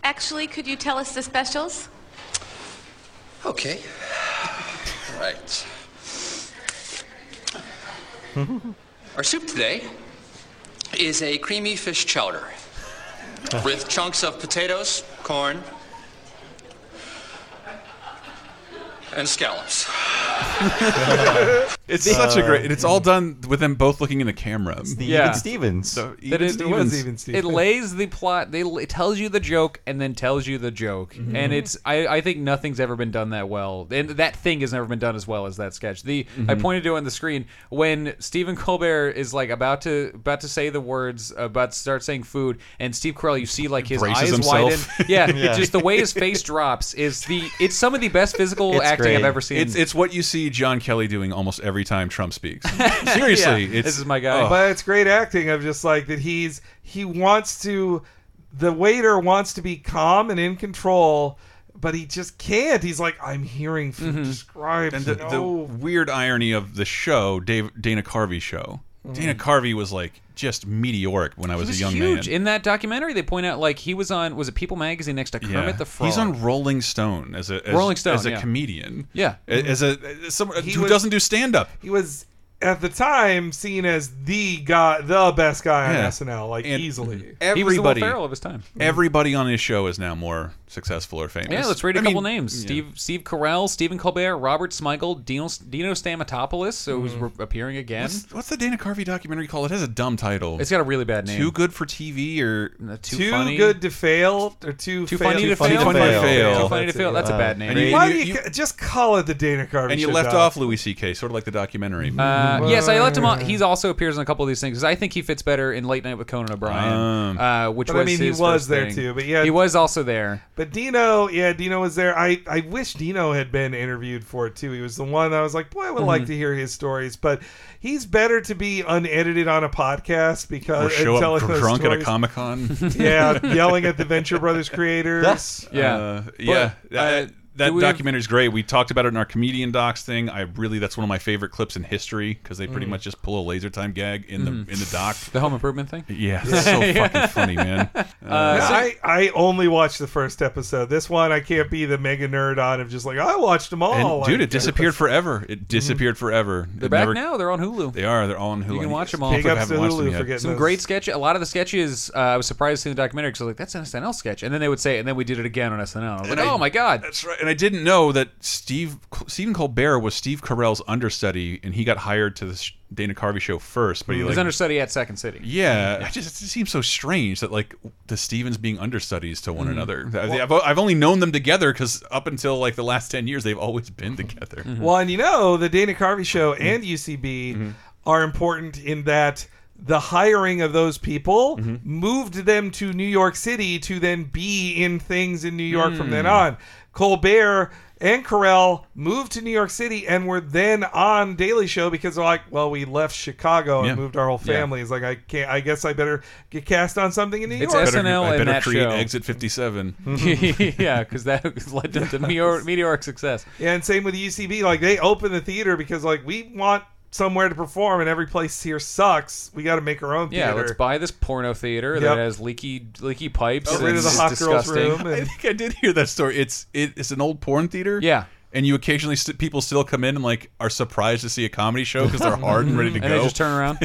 Actually, could you tell us the specials?
Okay. All right. Our soup today is a creamy fish chowder with chunks of potatoes, corn, and scallops.
It's such a great. and It's all done with them both looking in the camera.
the
Yeah.
Even Stevens.
So,
That
even
it-
Stevens.
It lays the plot. They it tells you the joke and then tells you the joke,
Mhm.
and it's I, I think nothing's ever been done that well, and that thing has never been done as well as that sketch. The I
Mhm.
pointed to it on the screen when Stephen Colbert is like about to about to say the words about to start saying food, and Steve Carell you see like his
Braces
eyes
himself.
widen. Yeah,
Yeah.
just the way his face drops is the it's some of the best physical acting I've ever seen.
It's, it's what you see John Kelly doing almost every time Trump speaks. Seriously, it's, oh.
But it's great acting of just like that he's he wants to the waiter wants to be calm and in control, but he just can't. He's like, I'm hearing food
Mm-hmm.
described.
And the, the
no."
weird irony of the show, Dave, Dana Carvey show.
Mm.
Dana Carvey was like just meteoric when I was,
He was
a young
huge
man.
in that documentary. They point out like he was on was it People Magazine next to Kermit
Yeah.
the Frog.
He's on Rolling Stone as a as,
Rolling Stone,
as a
yeah.
comedian.
Yeah.
A- as a as someone
He
who
was-
doesn't do stand up.
he was at the time seen as the guy, the best guy on
Yeah.
SNL, like
And
easily.
Everybody,
Ferrell of his time. Mm-hmm.
Everybody on his show is now more successful or famous.
Yeah, let's read a
a
couple names: Steve Steve Carell, Stephen Colbert, Robert Smigel, Dino, Dino Stamatopoulos, who's
Mhm.
re- appearing again.
What's, what's the Dana Carvey documentary called? It has a dumb title.
It's got a really bad name.
Too good for TV or
too,
Too good to fail, or too
Too
fail- Uh,
funny to fail?
Too funny to fail.
Too funny to fail. That's a bad name.
And you-
Why
you-
do you, just call it the Dana Carvey?
and you
show
left
doc.
off Louis C.K. sort of like the documentary. Mm.
Uh, yes, I left him on. He also appears in a couple of these things 'cause I think he fits better in Late Night with Conan O'Brien,
Um.
uh, which
But
was
I mean, he
his
was
first
there
thing.
too, but yeah.
he was also there.
But Dino, yeah, Dino was there. I, I wish Dino had been interviewed for it too. He was the one I was like, boy, I would like
Mhm.
to hear his stories. But he's better to be unedited on a podcast because
Or show
and
up
telling
dr-
those
drunk at a
stories.
Comic-Con.
yeah, yelling at the Venture Brothers creators.
Uh, yeah. that that
do we have-
documentary is great. We talked about it in our comedian docs thing. I really that's one of my favorite clips in history because they pretty
Mhm.
much just pull a laser time gag in the
Mhm.
in the doc.
The Home Improvement thing.
Yeah, it's so fucking funny, man. Uh,
Yeah,
so-
I, I only watched the first episode. This one I can't be the mega nerd on of just like Oh, I watched them all.
and
Like,
dude, it disappeared forever. It disappeared forever.
They're
It
back
never-
now. They're on Hulu.
They are. They're all on Hulu.
You can
I
watch
guess.
them all.
People haven't watched them yet.
Some great sketch. A lot of the sketches uh, I was surprised seeing the documentary because I was like, "That's an SNL sketch," and then they would say, "And then we did it again on SNL." And I was like,
And I-
"Oh my god!"
That's right. And I didn't know that Steve Stephen Colbert was Steve Carell's understudy, and he got hired to the sh- Dana Carvey show first. But he
He
like,
was Mm, understudy Mm, at Second City.
Yeah, I just it seems so strange that like the Stevens being understudies to one
Mhm.
another. I-
Well-
I've, I've only known them together because up until like the last ten years, they've always been
Mm-hmm.
together.
Mm-hmm. Well, and you know, the Dana Carvey show
Mm-hmm.
and UCB are important in that the hiring of those people
Mm-hmm.
moved them to New York City to then be in things in New York from then
Mm.
on. Colbert and Carell moved to New York City and were then on Daily Show because they're like, well, we left Chicago and
Yeah.
moved our whole
Yeah.
family. It's like I can't. I guess I better get cast on something in New
It's
York.
I better,
SNL
I
and
better
that
create
show.
Exit Fifty Seven.
yeah, because that led them to meteor, meteoric success.
Yeah, and same with UCB. Like they open the theater because like we want somewhere to perform, and every place here sucks. We got to make our own
Yeah,
theater.
let's buy this porno theater
Yep.
that has leaky leaky pipes.
Get
and
rid of the
it's
hot girls
disgusting.
room.
I think I did hear that story. It's it, it's an old porn theater.
Yeah.
And you occasionally st people still come in and like are surprised to see a comedy show because they're hard and ready to
and
go.
they just turn around.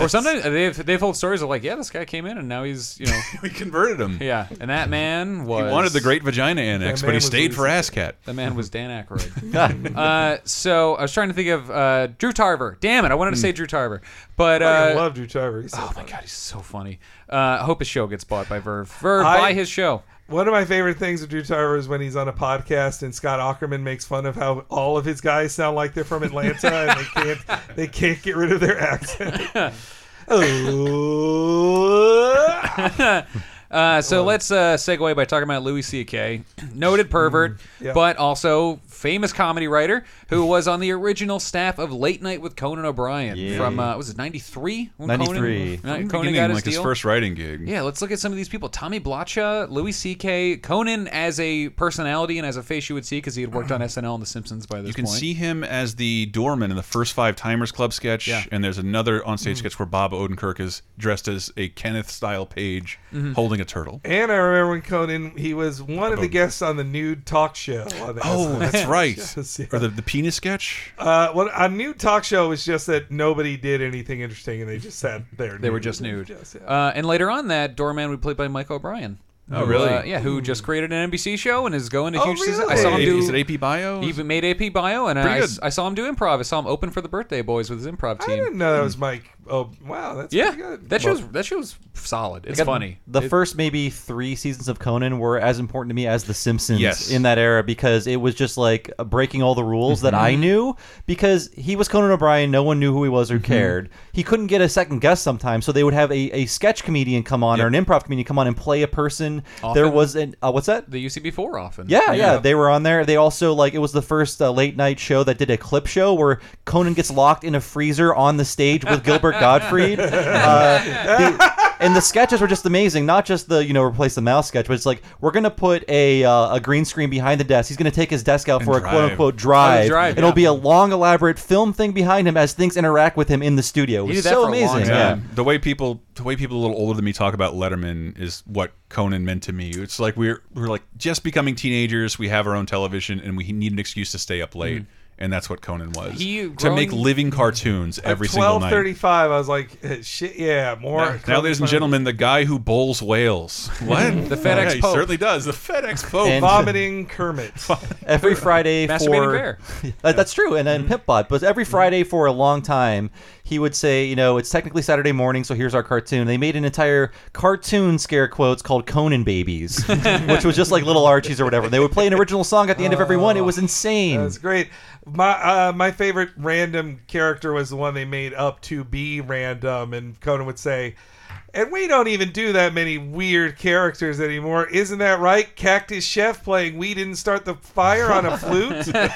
Or sometimes they've they've told stories of like, yeah, this guy came in and now he's you know
we converted him.
Yeah, and that man was
He wanted the Great Vagina Annex,
That
but he
man was
stayed for
Louis
Asscat.
That man was Dan Aykroyd. uh, so I was trying to think of uh, Drew Tarver. Damn it, I
Hmm.
wanted to say Drew Tarver, but
I
uh,
love Drew Tarver. He's so
oh my
funny.
god, he's so funny. Uh, I hope his show gets bought by Verve. Verve,
I-
buy his show.
One of my favorite things with Drew Tarver is when he's on a podcast and Scott Ackerman makes fun of how all of his guys sound like they're from Atlanta and they can't they can't get rid of their accent.
uh, so let's uh, segue by talking about Louis C.K., noted pervert,
Mm-hmm.
yeah.
but also famous comedy writer who was on the original staff of Late Night with Conan O'Brien from uh, was it '93?
93. From
Conan,
the
Conan
beginning,
got his
like his
deal?
first writing gig.
Yeah, let's look at some of these people: Tommy Blacha, Louis C.K., Conan as a personality and as a face you would see because he had worked on SNL and The Simpsons by this
You can
point.
see him as the doorman in the first Five Timers Club sketch,
Yeah.
and there's another onstage
Mhm.
sketch where Bob Odenkirk is dressed as a Kenneth-style page
Mm-hmm.
Mhm.
holding a turtle.
and I remember when Conan he was one of the guests on the nude talk show. on the
Oh,
SNL.
that's right.
Yes, yeah.
Or the, the penis sketch.
Uh, well, a new talk show was just that nobody did anything interesting and they just sat there.
They were just nude.
Yes, yeah.
Uh, and later on, that doorman would be played by Mike O'Brien.
Oh,
who, uh, yeah, who just
Hmm.
created an NBC show and is going to
Oh,
huge season. I
really?
saw him
Hey,
do.
is it AP Bio?
He made AP Bio, and I,
Pretty
I saw him do improv. I saw him open for the Birthday Boys with his improv team. I didn't
know that was Mike. Oh, wow, that's
yeah.
pretty good.
That show's that show's solid. It's
Like,
funny.
The
It-
first maybe three seasons of Conan were as important to me as The Simpsons
Yes.
in that era because it was just like breaking all the rules that I
Mm-hmm.
Mhm.
knew because he was Conan O'Brien. No one knew who he was
Mm-hmm.
or cared. He couldn't get a second guess sometimes, so they would have a, a sketch comedian come on or an improv comedian come on and play a person. There
Often.
was an uh, what's that?
the UCB four often.
Yeah, yeah, they were on there. They also like it was the first uh, late night show that did a clip show where Conan gets locked in a freezer on the stage with Gilbert Gottfried. Uh, the- and the sketches were just amazing. Not just the you know replace the mouse sketch, but it's like we're gonna put a uh, a green screen behind the desk. He's gonna take his desk out for a quote unquote
drive.
drive.
Oh, drive,
It'll
yeah.
be a long elaborate film thing behind him as things interact with him in the studio. It
He
was
did that
so
for a long
amazing. yeah.
The way people, the way people a little older than me talk about Letterman is what Conan meant to me. It's like we're we're like just becoming teenagers. We have our own television, and we need an excuse to stay up late,
Mm.
and that's what Conan was.
He
to
grown-
make living cartoons every
At
single night.
12:35, I was like, eh, shit, yeah, more.
Now, ladies and gentlemen, the guy who bowls whales. What?
The FedEx
Yeah, he
Pope.
certainly does. The FedEx Pope.
And-
vomiting Kermit.
every Friday
Masturbating
for
bear.
Uh, that's true, and then
Mm-hmm.
Pipbot. But every Friday for a long time, he would say, you know, it's technically Saturday morning, so here's our cartoon. They made an entire cartoon scare quotes called Conan Babies, which was just like Little Archies or whatever. They would play an original song at the end of every one. It
Oh,
was insane.
That's great. My uh, my favorite random character was the one they made up to be random, and Conan would say, "And we don't even do that many weird characters anymore, isn't that right?" Cactus Chef playing "We Didn't Start the Fire" on a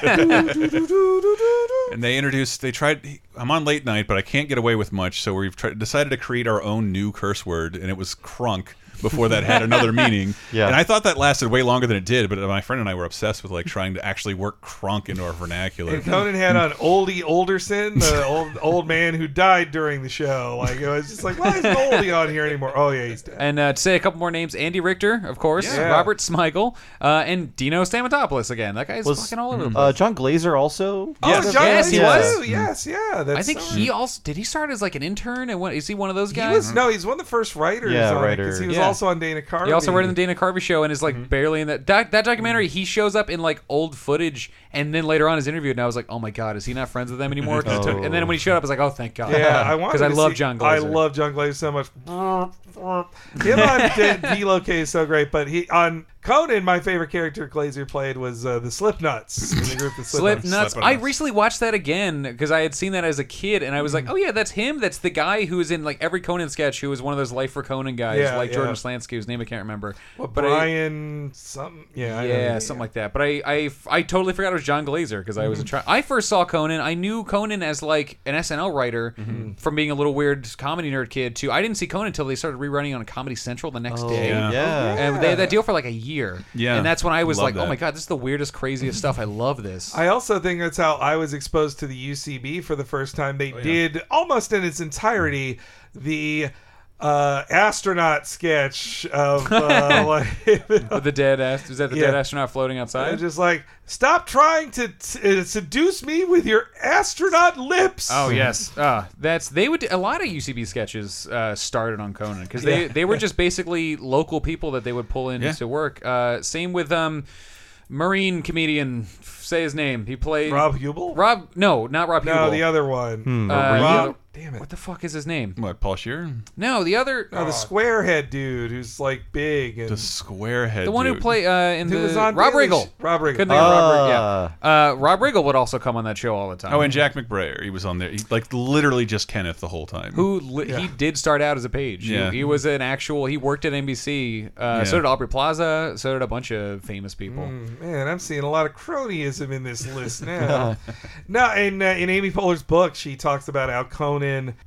flute.
and they introduced they tried i'm on late night but i can't get away with much so we've tried, decided to create our own new curse word and it was crunk before that had another meaning
Yeah.
and i thought that lasted way longer than it did but my friend and i were obsessed with like trying to actually work crunk into our vernacular
And Conan had on Oldie Olderson, the old old man who died during the show. Like it was just like, why is Oldie on here anymore? Oh yeah, he's dead.
And uh, to say a couple more names, Andy Richter, of course,
Yeah.
Robert Smigel, uh, and Dino Stamatopoulos again. That guy's
Was,
fucking all
Mm.
over the place.
uh, John Glazer also?
Yes. John Yes, he Glazer, was. too.
Yes, yeah. That's
I think
so-
he also did. He start as like an intern, and what, is he one of those
He
guys?
was no, he's one of the first writers.
Yeah,
on it,
writer. Mm-hmm.
'cause He was
Yeah.
also on Dana Carvey.
He also wrote in the Dana Carvey show and is like barely in that doc, that documentary. He shows up in like old footage, and then later on is interviewed, and I was like, oh my god, is he not friends with them anymore? 'Cause it took- and then when he showed up, I was like, oh thank god,
Yeah, I wanted
because I
to
love
see-
John Glazer.
I love John Glazer so much. Him on D-Loke is so great, but he on Conan, my favorite character Glazer played was uh, the Slipknots. in the group the
Slip nuts. I recently watched that again because I had seen that as a kid, and I was like,
Mm-hmm.
"Oh yeah, that's him. That's the guy who was in like every Conan sketch. Who was one of those Life for Conan guys,
Yeah,
like
yeah.
Jordan Slansky, whose name I can't remember."
What,
I-
Brian something? Yeah, I know.
yeah, something like that. But I, I, I totally forgot it was John Glazer because I was a
Mhm.
child. I first saw Conan. I knew Conan as like an SNL writer
Mm-hmm.
from being a little weird comedy nerd kid to I didn't see Conan until they started rerunning on Comedy Central the next
Oh,
day.
yeah. Yeah.
and they had that deal for like a year.
Yeah.
and that's when I was
Love
like, oh
that.
my god, this is the weirdest, craziest stuff. I love this.
I also think that's how I was exposed to the UCB for the first time. They did almost in its entirety the uh, astronaut sketch of uh, like
With the dead ast- was that the dead
Yeah.
astronaut floating outside?
I'm just like, stop trying to t- uh, seduce me with your astronaut lips.
Oh yes, uh, that's they would a lot of UCB sketches uh, started on Conan because they
Yeah.
they were just basically local people that they would pull in
Yeah.
to work. Uh, same with um, Marine comedian, say his name. He played
Rob Hubel.
Rob, no, not Rob
No,
Hubel.
the other one. Hmm,
Uh,
Marine? Damn it! What
the fuck is his name?
Oh, What Paul Shear?
No, the other.
No, Oh, the squarehead dude who's like big and the
squarehead.
the one who played uh, in
Who
the
was on
Rob
Daily
Riggle.
Sh- Rob Riggle.
Couldn't think of Rob Riggle. Yeah, uh, Rob Riggle would also come on that show all the time.
Ah. oh and jack mcbrayer he was on there he, like literally just kenneth the whole time
who li- he did start out as a page. He-
Yeah.
He, was an actual. He worked at NBC. Uh,
Yeah. Mm.
So did Aubrey Plaza. So did a bunch of famous people.
Man, I'm seeing a lot of cronyism in this list now. no, in uh, in Amy Poehler's book, she talks about how Conan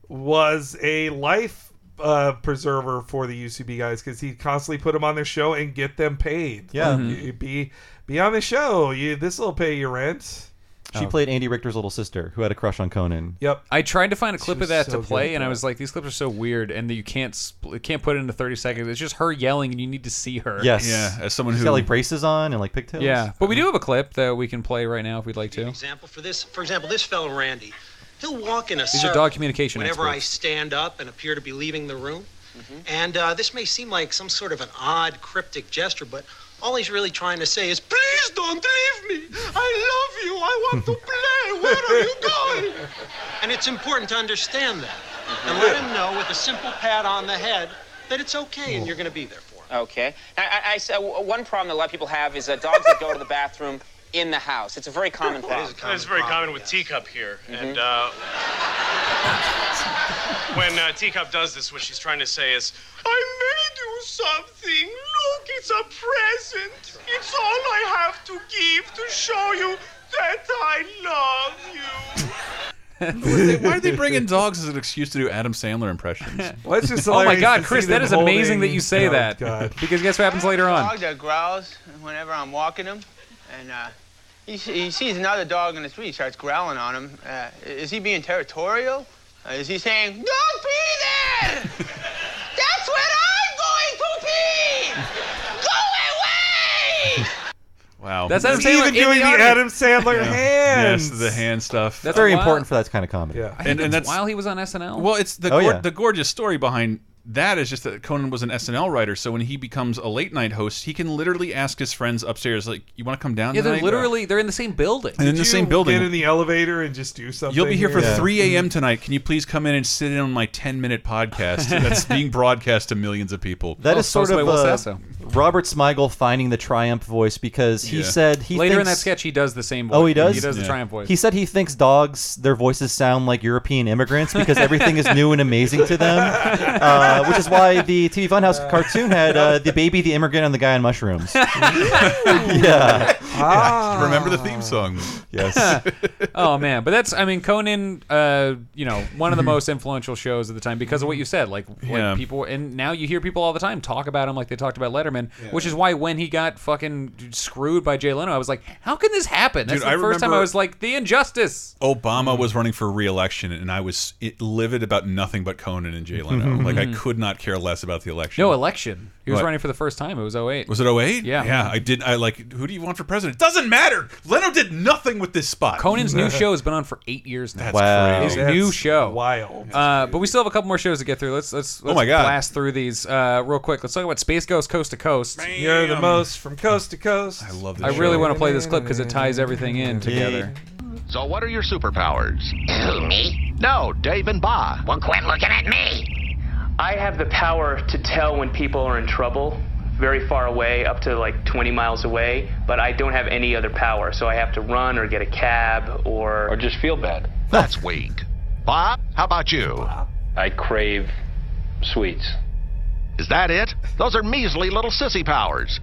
was a life uh, preserver for the UCB guys because he constantly put them on their show and get them paid.
Yeah.
Like,
Mhm.
Mm-hmm.
you- be be on the show. You this will pay your rent.
Oh.
Oh.
She played Andy Richter's little sister who had a crush on Conan.
Yep.
I tried to find a clip
was
of that
so
to
good
play,
at
and I
that.
was like, these clips are so weird, and that you can't spl- can't put it into thirty seconds. It's just her yelling, and you need to see her.
Yes.
someone
She's
who- Uh-huh.
got like braces on and like pigtails.
Yeah, but we do have a clip that we can play right now if we'd like to.
example for this for example this fellow randy he'll walk in a
These are
circle
dog communication
whenever i
experts.
stand up and appear to be leaving the room
Mm-hmm.
And uh, this may seem like some sort of an odd, cryptic gesture, but all he's really trying to say is, please don't leave me. I love you. I want to play. Where are you going? And it's important to understand that and let him know with a simple pat on the head that it's okay and you're going to be there for him.
Okay. Now, I, I, so w- one problem that a lot of people have is uh, dogs that go to the bathroom in the house. It's a very common problem.
It's very common with Teacup here, and uh, when uh, Teacup does this, what she's trying to say is,
I made you something. Look, it's a present. It's all I have to give to show you that I love you.
Why are they bringing dogs as an excuse to do Adam Sandler impressions?
Well, it's just
oh my
hilarious
God,
to
Chris,
see
that
them
is amazing that
holding-
you say
Oh,
that.
God.
Because guess what happens later on?
Dog that growls whenever I'm walking him, and uh, he, s- he sees another dog in the street, starts growling on him. Uh, is he being territorial? Uh, is he saying, "Don't be there! That's where I'm going to be! Go away!"
Wow.
That's Adam
He's even
Sandler in
doing
the
the
audience.
Adam Sandler
Yeah.
hands.
Yes, the hand stuff.
That's very important for that kind of comedy. Yeah.
I think it's while he was on SNL.
Well, it's the
Oh,
gor-
yeah.
the gorgeous story behind that is just that Conan was an SNL writer, so when he becomes a late night host, he can literally ask his friends upstairs, like, "You want to come down?"
yeah, they're
tonight?"
literally they're in the same building.
And in the same building.
Get in the elevator and just do something.
You'll be here for
Yeah.
3 a.m. tonight. Can you please come in and sit in on my 10 minute podcast that's being broadcast to millions of people?
Oh,
That is sort of
Will
uh,
Sasso.
Robert Smigel finding the triumph voice because he
Yeah.
said he
later in that
thinks-
sketch he does the same. voice.
Oh, he does.
He does the triumph voice.
He said he thinks dogs, their voices sound like European immigrants because everything is new and amazing to them, uh, which is why the TV Funhouse cartoon had uh, the baby, the immigrant, and the guy on mushrooms. yeah.
Remember the theme song.
Yes.
Ah. oh man, but that's I mean Conan, uh, you know, one of the most influential shows at the time because of what you said. Like, like
Mm-hmm. Yeah.
people, and now you hear people all the time talk about him like they talked about Letterman, which is why when he got fucking screwed by Jay Leno, I was like, how can this happen? That's
Dude,
the
I
first time I
remember-
was like, the injustice.
Obama was running for re-election, and I was it, livid about nothing but Conan and Jay Leno.
Mhm.
like I
Mhm.
could not care less about the election.
No election. He was
What?
running for the first time. It was 08.
Was it 08?
Yeah.
Yeah. I did. I like. Who do you want for president? Doesn't matter. Leno did nothing with this spot.
Conan's new show has been on for eight years now.
That's Wow. crazy.
His
That's
new show.
Wild.
Uh, but we still have a couple more shows to get through. Let's let's,
Oh
let's
my God.
blast through these uh, real quick. Let's talk about Space Ghost Coast to Coast.
You're the most from coast to coast. I
love
I really want to play this clip because it ties everything in together.
So, what are your superpowers? Who, me? No, Dave and Ba. Well, quit looking at me.
I have the power to tell when people are in trouble very far away, up to like 20 miles away, but I don't have any other power, so I have to run or get a cab or. Or just feel bad.
That's weak. Bob, how about you? I crave sweets. Is that it? Those are measly little sissy powers.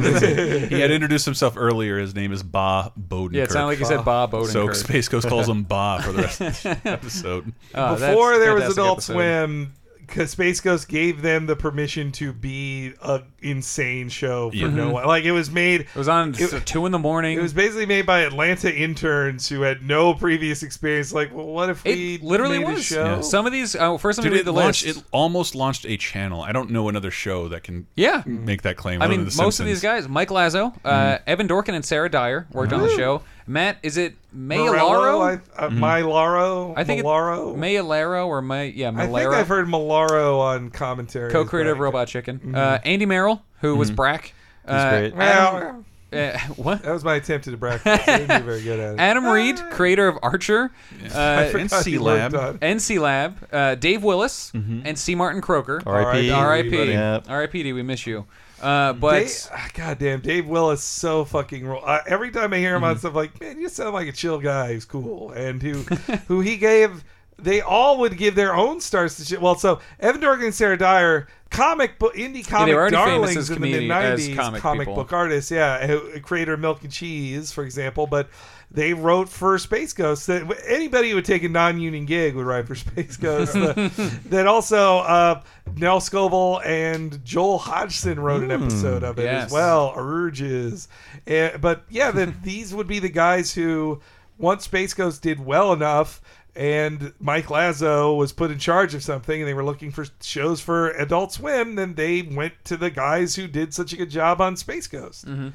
he had introduced himself earlier. His name is Ba Bodenkirk.
Yeah, it sounded like he said Ba Bodenkirk.
So Space Ghost calls him Ba for the rest of the episode.
Oh,
Before there was Adult Swim, 'cause Space Ghost gave them the permission to be a insane show for
Yeah.
no
Mhm.
one. Like it was made.
It was on at two in the morning.
It was basically made by Atlanta interns who had no previous experience. Like, well, what if we
It literally
made a
was.
show?
Some of these. Uh, first, let me
Dude,
read
it
the
launched-
list.
It almost launched a channel. I don't know another show that can
Yeah.
make that claim.
I
other
mean,
than The
most of
Simpsons. Mm-hmm.
these guys: Mike Lazo, uh, Evan Dorkin, and Sarah Dyer worked on the
Woo.
show. Matt, is it
Morello,
Mayalaro?
I- uh, Mylaro,
Mm-hmm. I think
Malaro?
It, Mayalaro or May? Yeah,
I
Malaro.
think I've heard Malaro on commentary. as
co-creator
well.
of Robot Chicken.
Mhm.
Uh, Andy Merrill, who was
Mhm.
Brack.
He's
Uh,
great.
Adam-
Wow.
uh, what?
That was my attempt at a breakfast. I didn't do very good at it.
Adam Reed, creator of Archer, uh,
I forgot NC he worked Lab. on- Mm-hmm.
NC Lab, uh, Dave Willis, and C. Martin Croker.
R.I.P..
R.I.P.
buddy. Yep.
R.I.P. We miss you. Uh, but
Dave, ah, goddamn, Dave Willis so fucking roll. Uh, every time I hear him on
Mm-hmm.
stuff, like man, you sound like a chill guy who's cool, and who who he gave. They all would give their own stars to shit. Well, so Evan Dorgan and Sarah Dyer, comic book indie
Yeah,
comic
they were already famous
darlings
as
in the mid
comedi- as
nineties,
comic
comic,
people.
book artists, yeah, who- creator of Milk and Cheese, for example. But they wrote for Space Ghost. That anybody who would take a non-union gig would write for Space Ghost. The- that also uh, Nell Scovell and Joel Hodgson wrote an
Mm.
episode of it
Yes.
as well. Urges, and, but yeah, that these would be the guys who once Space Ghost did well enough. And Mike Lazo was put in charge of something, and they were looking for shows for Adult Swim. Then they went to the guys who did such a good job on Space Ghost.
Mm-hmm.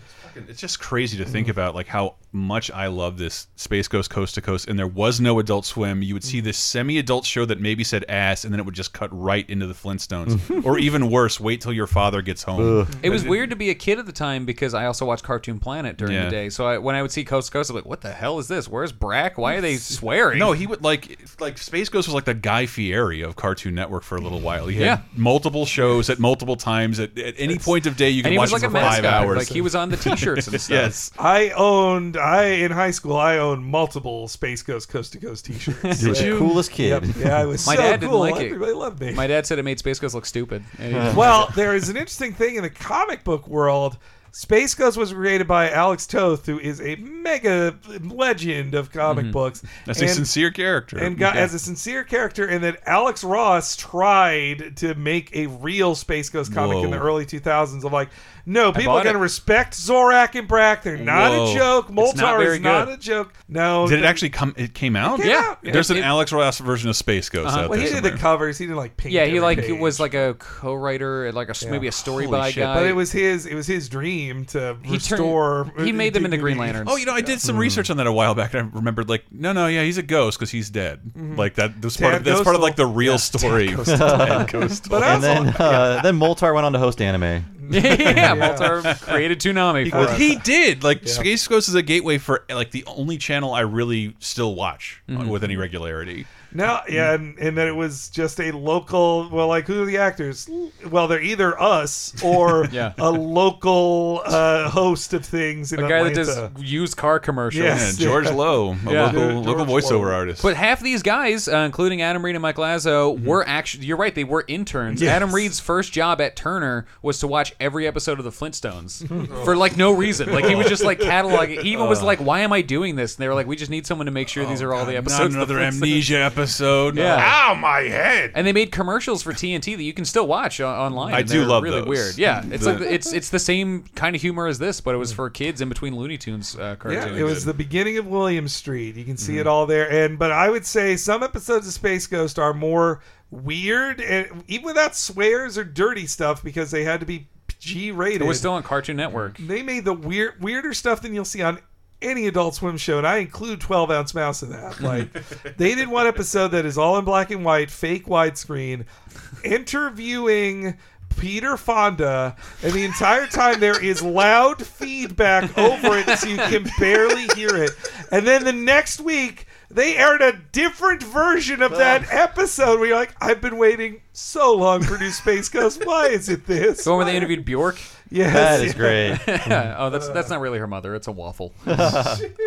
It's just crazy to think about, like how much I love this Space Ghost Coast to Coast, and there was no Adult Swim. You would see this semi-adult show that maybe said ass, and then it would just cut right into the Flintstones, or even worse, wait till your father gets home.
It was weird to be a kid at the time because I also watched Cartoon Planet during
Yeah.
the day. So I, when I would see Coast to Coast, I'm like, "What the hell is this? Where's Brack? Why are they swearing?"
No, he would like like Space Ghost was like the Guy Fieri of Cartoon Network for a little while. He had
Yeah.
multiple shows at multiple times at, at any point of day. You
and
could
he
watch
was like
it
a
for five
mascot.
hours.
Like he was on the T-shirts and stuff.
Yes.
I owned I in high school I owned multiple Space Ghost Coast to Coast T-shirts.
You were the
Yeah.
coolest kid.
Yep. Yeah, I was
My
so
dad
cool.
didn't like
Everybody
it.
loved me.
My dad said it made Space Ghost look stupid. And he-
well, there is an interesting thing in the comic book world. Space Ghost was created by Alex Toth, who is a mega legend of comic
Mm-hmm.
Mhm.
books.
That's a
And-
sincere character.
And got,
Yeah.
as a sincere character, and that Alex Ross tried to make a real Space Ghost comic in the
Whoa.
early 2000s of like, no, people
bought
are going to
it.
respect Zorak and Brack. They're not
Whoa.
a joke.
It's not
Moltar
very
is not
good.
a joke. No.
Did it
the-
actually come? It came out.
came Yeah. out, yeah.
There's an
It-
Alex Ross version of Space Ghost
Uh-huh.
out
Well,
there.
he did the covers. He did like paint.
yeah, he
every
like
page.
was like a co-writer, like a
Yeah.
maybe a story by guy.
But it was his. It was his dream to
He turned-
restore.
he made them into Green
dignity.
Lanterns. Mm-hmm.
Oh, you know, I did some research on that a while back, and I remembered like, no, no, yeah, he's a ghost because he's dead.
Mhm.
Like that. That's
Tad
part. Of, that's part of
Ghostal.
like the real story. Tad Ghostal.
and then uh, then Moltar went on to host anime.
yeah, yeah, Moltar created Toonami
He-
for us.
He did. Like Space Ghost is a gateway for like the only channel I really still watch uh,
Mhm.
with any regularity.
No, yeah, and, and then it was just a local. Well, like who are the actors? Well, they're either us or
Yeah.
a local uh, host of things. In
a guy that
Atlanta.
does used car commercials.
Yes.
Yeah, George Lowe, a local- local voiceover artist. Mm-hmm.
But half these guys, uh, including Adam Reed and Mike Lazo, were actually, you're right, they were interns.
Yes.
Adam Reed's first job at Turner was to watch every episode of The Flintstones
Oh.
for like no reason. Like he was just like cataloging. He
Oh.
even was like, why am I doing this? And they were like, we just need someone to make sure these are all the
Not
episodes. of The
Oh, another
Flintstones."
amnesia episode.
Yeah.
Ow, my head.
And they made commercials for TNT that you can still watch o- online.
I
and
do
they're
love
really
those.
weird. Yeah, it's
The-
like it's it's the same kind of humor as this, but it was for kids in between Looney Tunes uh, cartoons.
Yeah, it was the beginning of William Street. You can see
Mm-hmm.
it all there. And but I would say some episodes of Space Ghost are more weird and even without swears or dirty stuff because they had to be G rated.
It was still on Cartoon Network.
They made the weird weirder stuff than you'll see on any Adult Swim show, and I include Twelve Ounce Mouse in that. Like they did one episode that is all in black and white, fake widescreen, interviewing. Peter Fonda, and the entire time there is loud feedback over it, so you can barely hear it. And then the next week, they aired a different version of that episode. Where you're like, I've been waiting so long for new Space Ghost. Why is it this?
The one where they interviewed Bjork.
Yes. That is great.
Mm-hmm.
Yeah. Oh, that's that's not really her mother. It's a waffle.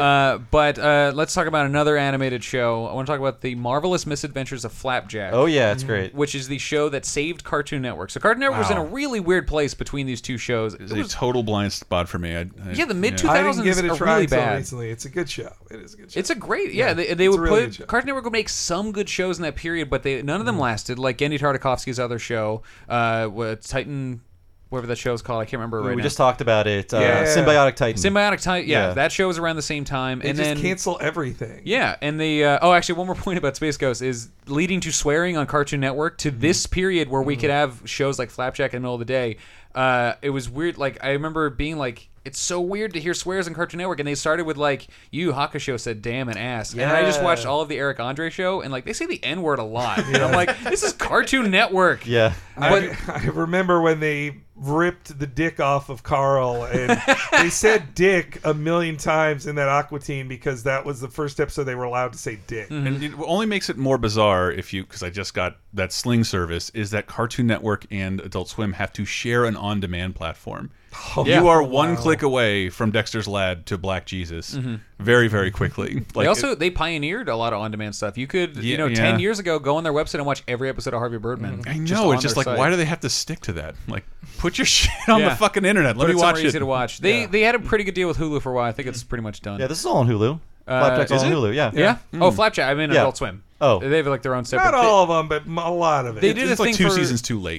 uh, but uh, let's talk about another animated show. I want to talk about the marvelous misadventures of Flapjack.
Oh, yeah, it's great.
Which is the show that saved Cartoon Network. So Cartoon Network was in
Wow.
a really weird place between these two shows. It
It's a
was
total blind spot for me. I, I-
Yeah, the mid
yeah.
2000s
I didn't give it a
are
try
really
until
bad.
recently. It's a good show. It is a good show.
It's a great, yeah. they, they
it's
would
a really good show.
put Cartoon Network would make some good shows in that period, but they none of them lasted. Like Andy Tartakovsky's other show, uh, wa- Titan, whatever that show is called, I can't remember right
we
now.
just talked about it. Uh, Symbiotic Titan.
Symbiotic Titan. Yeah,
Yeah.
that show was around the same time,
They
and
just
then
cancel everything.
yeah, and the uh, oh, actually, one more point about Space Ghost is leading to swearing on Cartoon Network to this period where we could have shows like Flapjack in the middle of the day. Uh, it was weird. Like I remember being like, it's so weird to hear swears on Cartoon Network, and they started with like, "You Hakusho said damn and ass," and I just
Yeah.
watched all of the Eric Andre show, and like they say the N word a lot, and I'm like, this is Cartoon Network.
Yeah.
I, I remember when they ripped the dick off of Carl, and they said "dick" a million times in that Aqua Teen because that was the first episode they were allowed to say "dick."
Mm-hmm.
And it only makes it more bizarre if you, because I just got that Sling service, is that Cartoon Network and Adult Swim have to share an on demand platform.
Oh,
you
yeah.
are one
Wow.
click away from Dexter's Lad to Black Jesus
Mhm.
very, very quickly.
they also they pioneered a lot of on-demand stuff. You could,
Yeah,
you know,
yeah.
ten years ago, go on their website and watch every episode of Harvey Birdman.
I know.
on
it's just
their
like,
site.
why do they have to stick to that? Like, put your shit on the
Yeah.
fucking internet. Let
But
me
it's
watch
somewhere
it.
Easy to watch. They they had a pretty good deal with Hulu for a while. I think it's pretty much done.
Yeah, this is all on Hulu.
Uh,
Flapjack's
is
all on
it?
Hulu. Yeah.
Yeah.
Hmm.
Oh, Flapjack. I mean,
Yeah.
Adult Swim.
Oh.
they have like their own separate.
Not all of them, but m- a lot of it.
They, they did a thing for-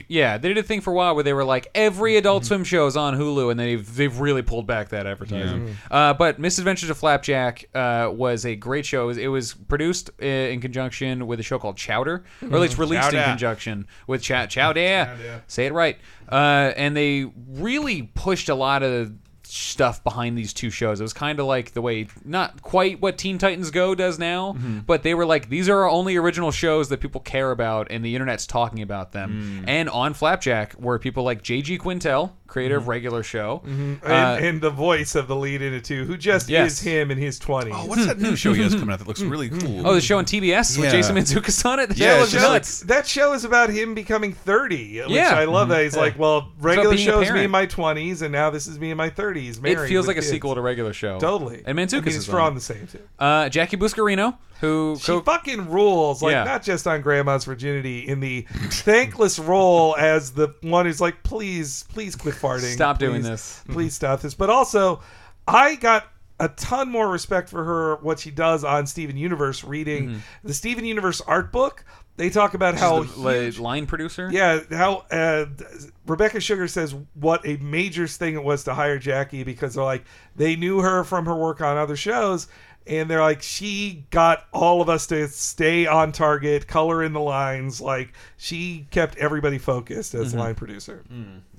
Yeah, they did a thing for a while where they were like
Mm-hmm.
every Adult Swim show is on Hulu, and they've they've really pulled back that advertising. Uh, but Misadventures of Flapjack uh, was a great show. It was, it was produced uh, in conjunction with a show called Chowder, or at least
Mhm.
Mm-hmm.
released in
Chowder.
conjunction with Chow Chowder. Say it right. Uh, and they really pushed a lot of stuff behind these two shows. It was kind of like the way, not quite what Teen Titans Go does now,
Mm-hmm.
Mhm.
but they were like, these are our only original shows that people care about, and the internet's talking about them.
Mm.
And on Flapjack, were people like J.G. Quintel, creator of regular show,
Mhm.
uh,
Mm-hmm. and, and the voice of the lead in it too, who just
Yes. Hmm.
is him in his twenties. Oh,
what's that new show he has coming out that looks really cool?
Oh, the show on TBS with Jason Mantzoukas on it. That was nuts.
That show is about him becoming thirty. Which
Yeah.
I love that.
Mhm.
He's
Yeah.
like,
It's
well,
about
regular
being a
shows me
parent.
in my twenties, and now this is me in my thirties.
It feels like a sequel to regular show.
Totally.
And
I
Mantzoukas
mean,
is
it's
on
from
it.
the same too.
Uh, Jackie Buscarino, who
She fucking rules, like
Yeah.
not just on Grandma's Virginity, in the thankless role as the one who's like, please, please quit farting.
Stop doing
Please-
this."
Please stop this. But also, I got a ton more respect for her what she does on Steven Universe reading
Mhm.
the Steven Universe art book. They talk about
She's
how
the li- line producer.
yeah, how uh, Rebecca Sugar says what a major thing it was to hire Jackie because they're like they knew her from her work on other shows, and they're like she got all of us to stay on target, color in the lines, like she kept everybody focused as
Mhm.
line producer.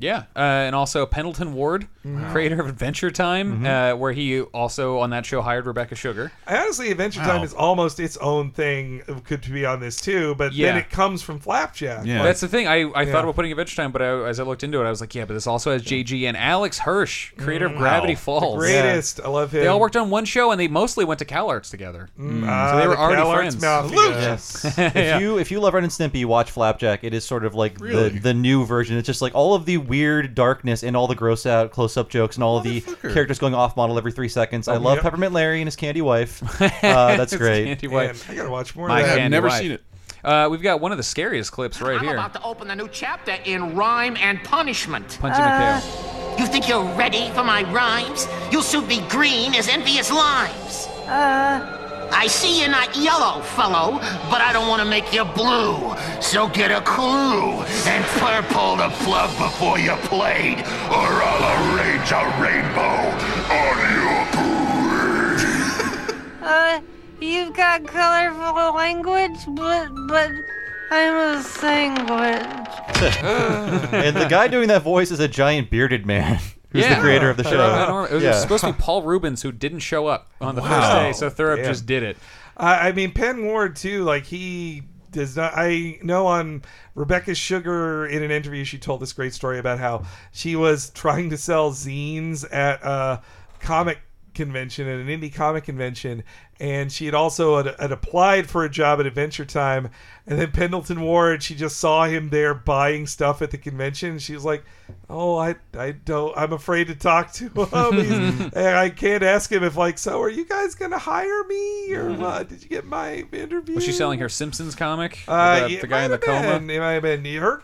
Yeah, uh, and also Pendleton Ward,
Wow.
creator of Adventure Time,
Mhm.
uh, where he also on that show hired Rebecca Sugar.
I honestly, Adventure
Wow.
Time is almost its own thing. uh, Could be on this too, but
Yeah.
then it comes from Flapjack. Like,
that's the thing. I, I
Yeah.
thought about putting Adventure Time, but I, as I looked into it, I was like, yeah, but this also has JG and Alex Hirsch, creator of
Mm.
Gravity
Wow.
Falls.
The greatest. I love him.
They all worked on one show, and they mostly went to CalArts together,
Mm.
so
Ah,
they were
the
already
CalArts
friends.
Mafia. Lucas!
Yes.
Yeah.
If you if you love Ren and Stimpy, watch Flapjack. It is sort of like
Really?
the, the new version. It's just like all of the weird darkness and all the gross out close up jokes and all of the characters going off model every three seconds. I
Oh,
love
yep.
Peppermint Larry and his candy wife. Uh, that's
His
great.
Candy Wife.
Man, I gotta watch more of
My
that. I've
Candy
never
Wife.
seen it.
Uh, we've got one of the scariest clips right
I'm
here.
about to open a new chapter in rhyme and punishment. Uh,
Punchy
You think you're ready for my rhymes? You'll soon be green as envious limes. I see you're not yellow, fellow, but I don't want to make you blue. So get a clue and purple the
Club before you played, or I'll arrange a rainbow on your parade.
Uh, you've got colorful language, but but I'm a sanguine.
and the guy doing that voice is a giant bearded man who's
yeah.
the creator of the show.
Enormous. It was
Yeah.
supposed to be Paul Rubens who didn't show up on the
Wow.
first day, so Thurup
Damn.
just did it.
I, I mean, Penn Ward too. Like he does not. I know on Rebecca Sugar in an interview, she told this great story about how she was trying to sell zines at a comic convention at an indie comic convention and she had also had, had applied for a job at adventure time and then pendleton ward she just saw him there buying stuff at the convention she was like oh i i don't i'm afraid to talk to him He's- and i can't ask him if like so are you guys gonna hire me or what did you get my interview
Mm-hmm. Was she selling her Simpsons comic?
uh,
With the,
it
the guy in the
might have
coma.
been- it might have been her.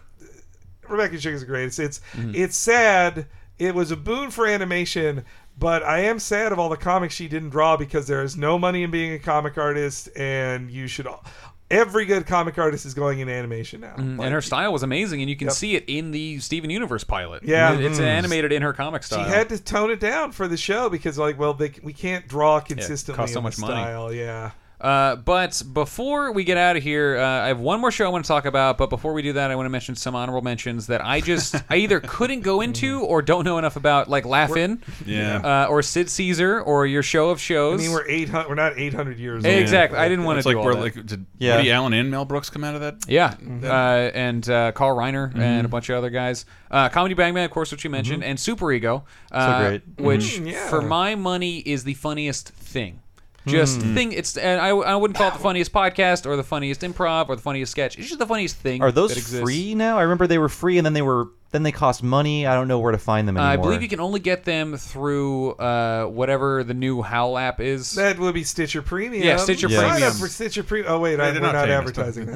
Rebecca Sugar's great. It's it's,
Mm-hmm.
it's sad. It was a boon for animation, but I am sad of all the comics she didn't draw because there is no money in being a comic artist, and you should. All, every good comic artist is going in animation now.
Mm, and her style was amazing, and you can see it in the Steven Universe pilot.
Yeah.
It- it's
Mm.
animated in her comic
She
style.
had to tone it down for the show because, like, well, they, we can't draw consistently.
costs so
in
much
the
money.
Style. Yeah.
Uh, but before we get out of here, uh, I have one more show I want to talk about. But before we do that, I want to mention some honorable mentions that I just I either couldn't go
Hmm.
into or don't know enough about, like Laugh In,
Yeah.
uh, or Sid Caesar, or your show of
I
shows.
mean, we're eight hundred. We're not eight hundred years. old.
Exactly. I didn't want
It's
to
like
do all
we're
that.
like- did Woody Allen and Mel Brooks come out of that?
Yeah,
Mhm.
uh, and uh, Carl Reiner
Mhm.
and a bunch of other guys. Uh, Comedy Bang Bang, of course, which you mentioned, and Super Ego, uh,
great.
which
Mm, yeah.
for my money is the funniest thing. Just
Mm.
thing. It's and I, I wouldn't call it the funniest podcast or the funniest improv or the funniest sketch. It's just the funniest thing.
Are those
that exists.
free now? I remember they were free, and then they were then they cost money. I don't know where to find them
Uh,
anymore.
I believe you can only get them through uh, whatever the new Howl app is.
That would be Stitcher Premium.
Yeah, Stitcher
Yes.
Sign
Premium.
up for Stitcher Premium. Oh wait,
Hey,
I,
they're
we're
not
not,
paying us.
advertising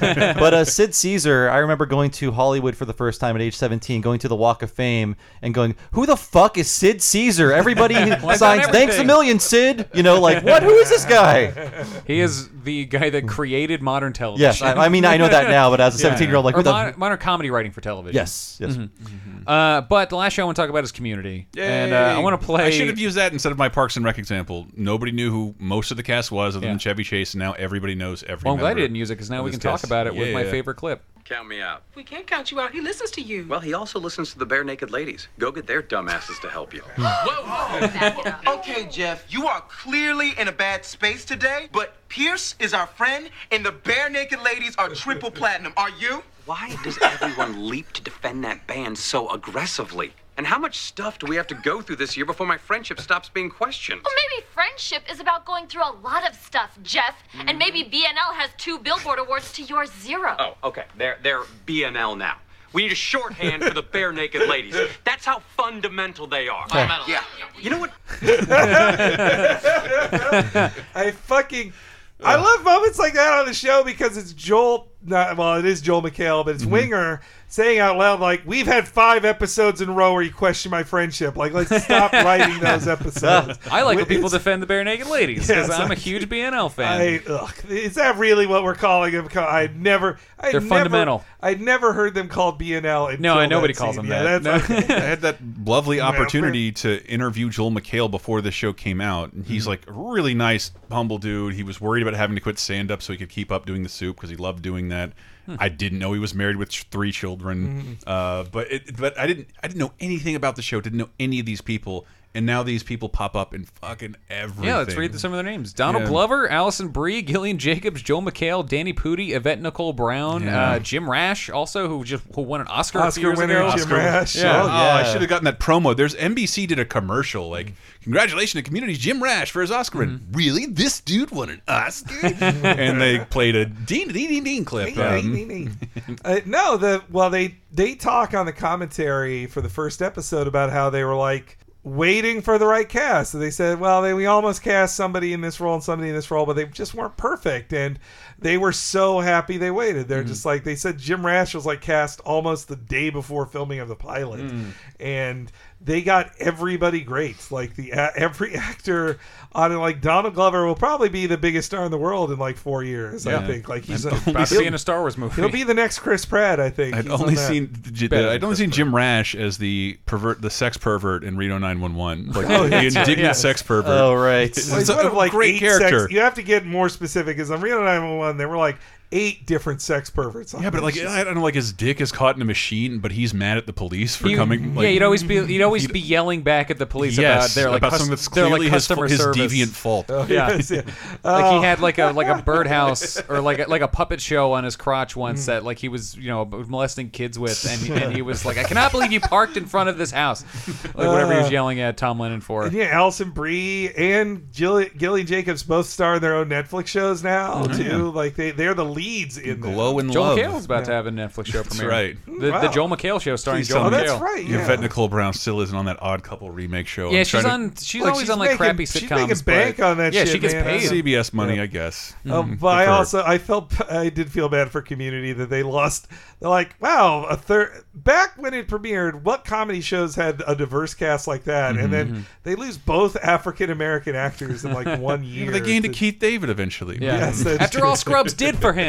that.
but uh, Sid Caesar, I remember going to Hollywood for the first time at age 17, going to the Walk of Fame, and going, "Who the fuck is Sid Caesar?" Everybody
I've done
signs, "Thanks a
everything."
million, Sid." You know, like, what? Who is this guy?
He is the guy that created modern television.
Yes, I- I mean, I know that now, but as a 17-year-old, like,
Or
who the-
modern, modern comedy writing for television.
Yes, yes.
Mhm. Uh, but the last show I want to talk about is Community, and uh, I want to play.
I should have used that instead of my Parks and Rec example. Nobody knew who most of the cast was, other
Yeah.
than Chevy Chase, and now everybody knows every.
Well, I'm glad
member
you didn't use it because now
of
we
this
can talk
cast.
about it with my
Yeah.
favorite clip.
Count me out.
We can't count you out. He listens to you.
Well, he also listens to the bare naked ladies. Go get their dumbasses to help you.
okay, Jeff, you are clearly in a bad space today, but Pierce is our friend, and the bare naked ladies are triple platinum. Are you?
Why does everyone leap to defend that band so aggressively? And how much stuff do we have to go through this year before my friendship stops being questioned?
Well, maybe friendship is about going through a lot of stuff, Jeff. And maybe BNL has two Billboard Awards to your zero.
Oh, okay. They're they're BNL now. We need a shorthand for the bare naked ladies. That's how fundamental they are.
Fundamental.
Yeah. You know what?
I fucking I love moments like that on the show because it's Joel. Not, well, it is Joel McHale, but it's
Mm-hmm.
Winger saying out loud like, "We've had five episodes in a row where you question my friendship. Like, let's stop writing those episodes."
I like when
It's-
people defend the bare naked ladies because
Yes,
I'm
I-
a huge BNL fan.
I, ugh, is that really what we're calling them? I never. I
They're
never,
fundamental.
I'd never heard them called BNL. until
No, I- nobody
that
calls
scene.
them
yeah,
that.
That's
No.
okay.
I had that lovely
Yeah,
opportunity to interview Joel McHale before the show came out, and
Mm-hmm.
he's like a really nice, humble dude. He was worried about having to quit stand up so he could keep up doing the soup because he loved doing
Hmm.
that.
Mm-hmm.
I didn't know he was married with ch- three children, uh, but it, but I didn't I didn't know anything about the show. Didn't know any of these people, and now these people pop up in fucking everything.
Yeah, let's read the- some of their names: Donald
Yeah.
Glover, Allison Brie, Gillian Jacobs, Joel McHale, Danny Pudi, Yvette Nicole Brown,
Yeah.
uh, Jim Rash, also who just who won an Oscar, a
Oscar
few years
winner
ago.
Jim Oscar- Rash.
Yeah.
Oh, I should have gotten that promo. There's NBC did a commercial like, "Congratulations to community Jim Rash for his Oscar." win." really, this dude won an Oscar? and they played a ding ding ding ding clip.
Ding,
um,
ding, ding, ding. Uh, no, the well they they talk on the commentary for the first episode about how they were like waiting for the right cast. So they said, well, they, we almost cast somebody in this role and somebody in this role, but they just weren't perfect. And they were so happy they waited.
Mm-hmm.
They're just like they said Jim Rash was like cast almost the day before filming of the pilot.
Mm.
And they got everybody great. Like the a- every actor on it like Donald Glover will probably be the biggest star in the world in like 4 years, I
Yeah.
think. Like he's
I've
a-
only
he'll-
seen a Star Wars movie.
He'll be the next Chris Pratt, I think.
I'd
He's on
only
that.
seen j- the- I'd only seen Jim Rash as the pervert, the sex pervert in Reno 911, like
Oh,
the
that's right,
indignant
yeah. Oh,
sex pervert.
Oh,
It's
Well, he's
a
one of, like
great
eight
character.
sex- e- you have to get more specific because on Reno 911 there were like eight different sex perverts. on
yeah, but
it.
like
It's
I don't know, like his dick is caught in a machine, but he's mad at the police for
You-
coming. Like,
yeah, you'd always be you'd always be yelling back at the police
Yes,
about their like
about
cus-
something that's
their, like,
clearly his-
customer
his
service.
deviant fault. Oh,
yeah,
yes, yeah.
like
Oh.
he had like a like a birdhouse or like a, like a puppet show on his crotch once
Mm.
that like he was you know molesting kids with, and he, and he was like, I cannot believe you parked in front of this house, like whatever he was
Uh,
yelling at Tom Lennon for.
And yeah, Allison Brie and Gilly, Gilly Jacobs both star in their own Netflix shows now
Mhm.
too. Like they they're the leads in them.
Oh, Glow in
Joel
Love.
McHale is about to have a Netflix show
That's
premiere.
right.
The, the Joel McHale show starring
Please
Joel
Oh,
tell me
McHale.
Yvette Nicole Brown still isn't on that Odd Couple remake show.
Yeah,
I'm
she's
trying to-
on. She's
Look,
always
she's
on like
making-
crappy
she's
sitcoms.
making bank
but-
on that
Yeah,
shit,
she gets
man.
paid.
CBS money, I guess.
Uh,
Mm-hmm.
Mm,
but I
good for her.
also I felt I did feel bad for Community that they lost. They're like, wow, a third back when it premiered, what comedy shows had a diverse cast like that, and
Mhm.
then they lose both African American actors in like one year.
They gained a
to-
Keith David eventually.
Yeah. Yes, that's
After
true.
all, Scrubs did for him.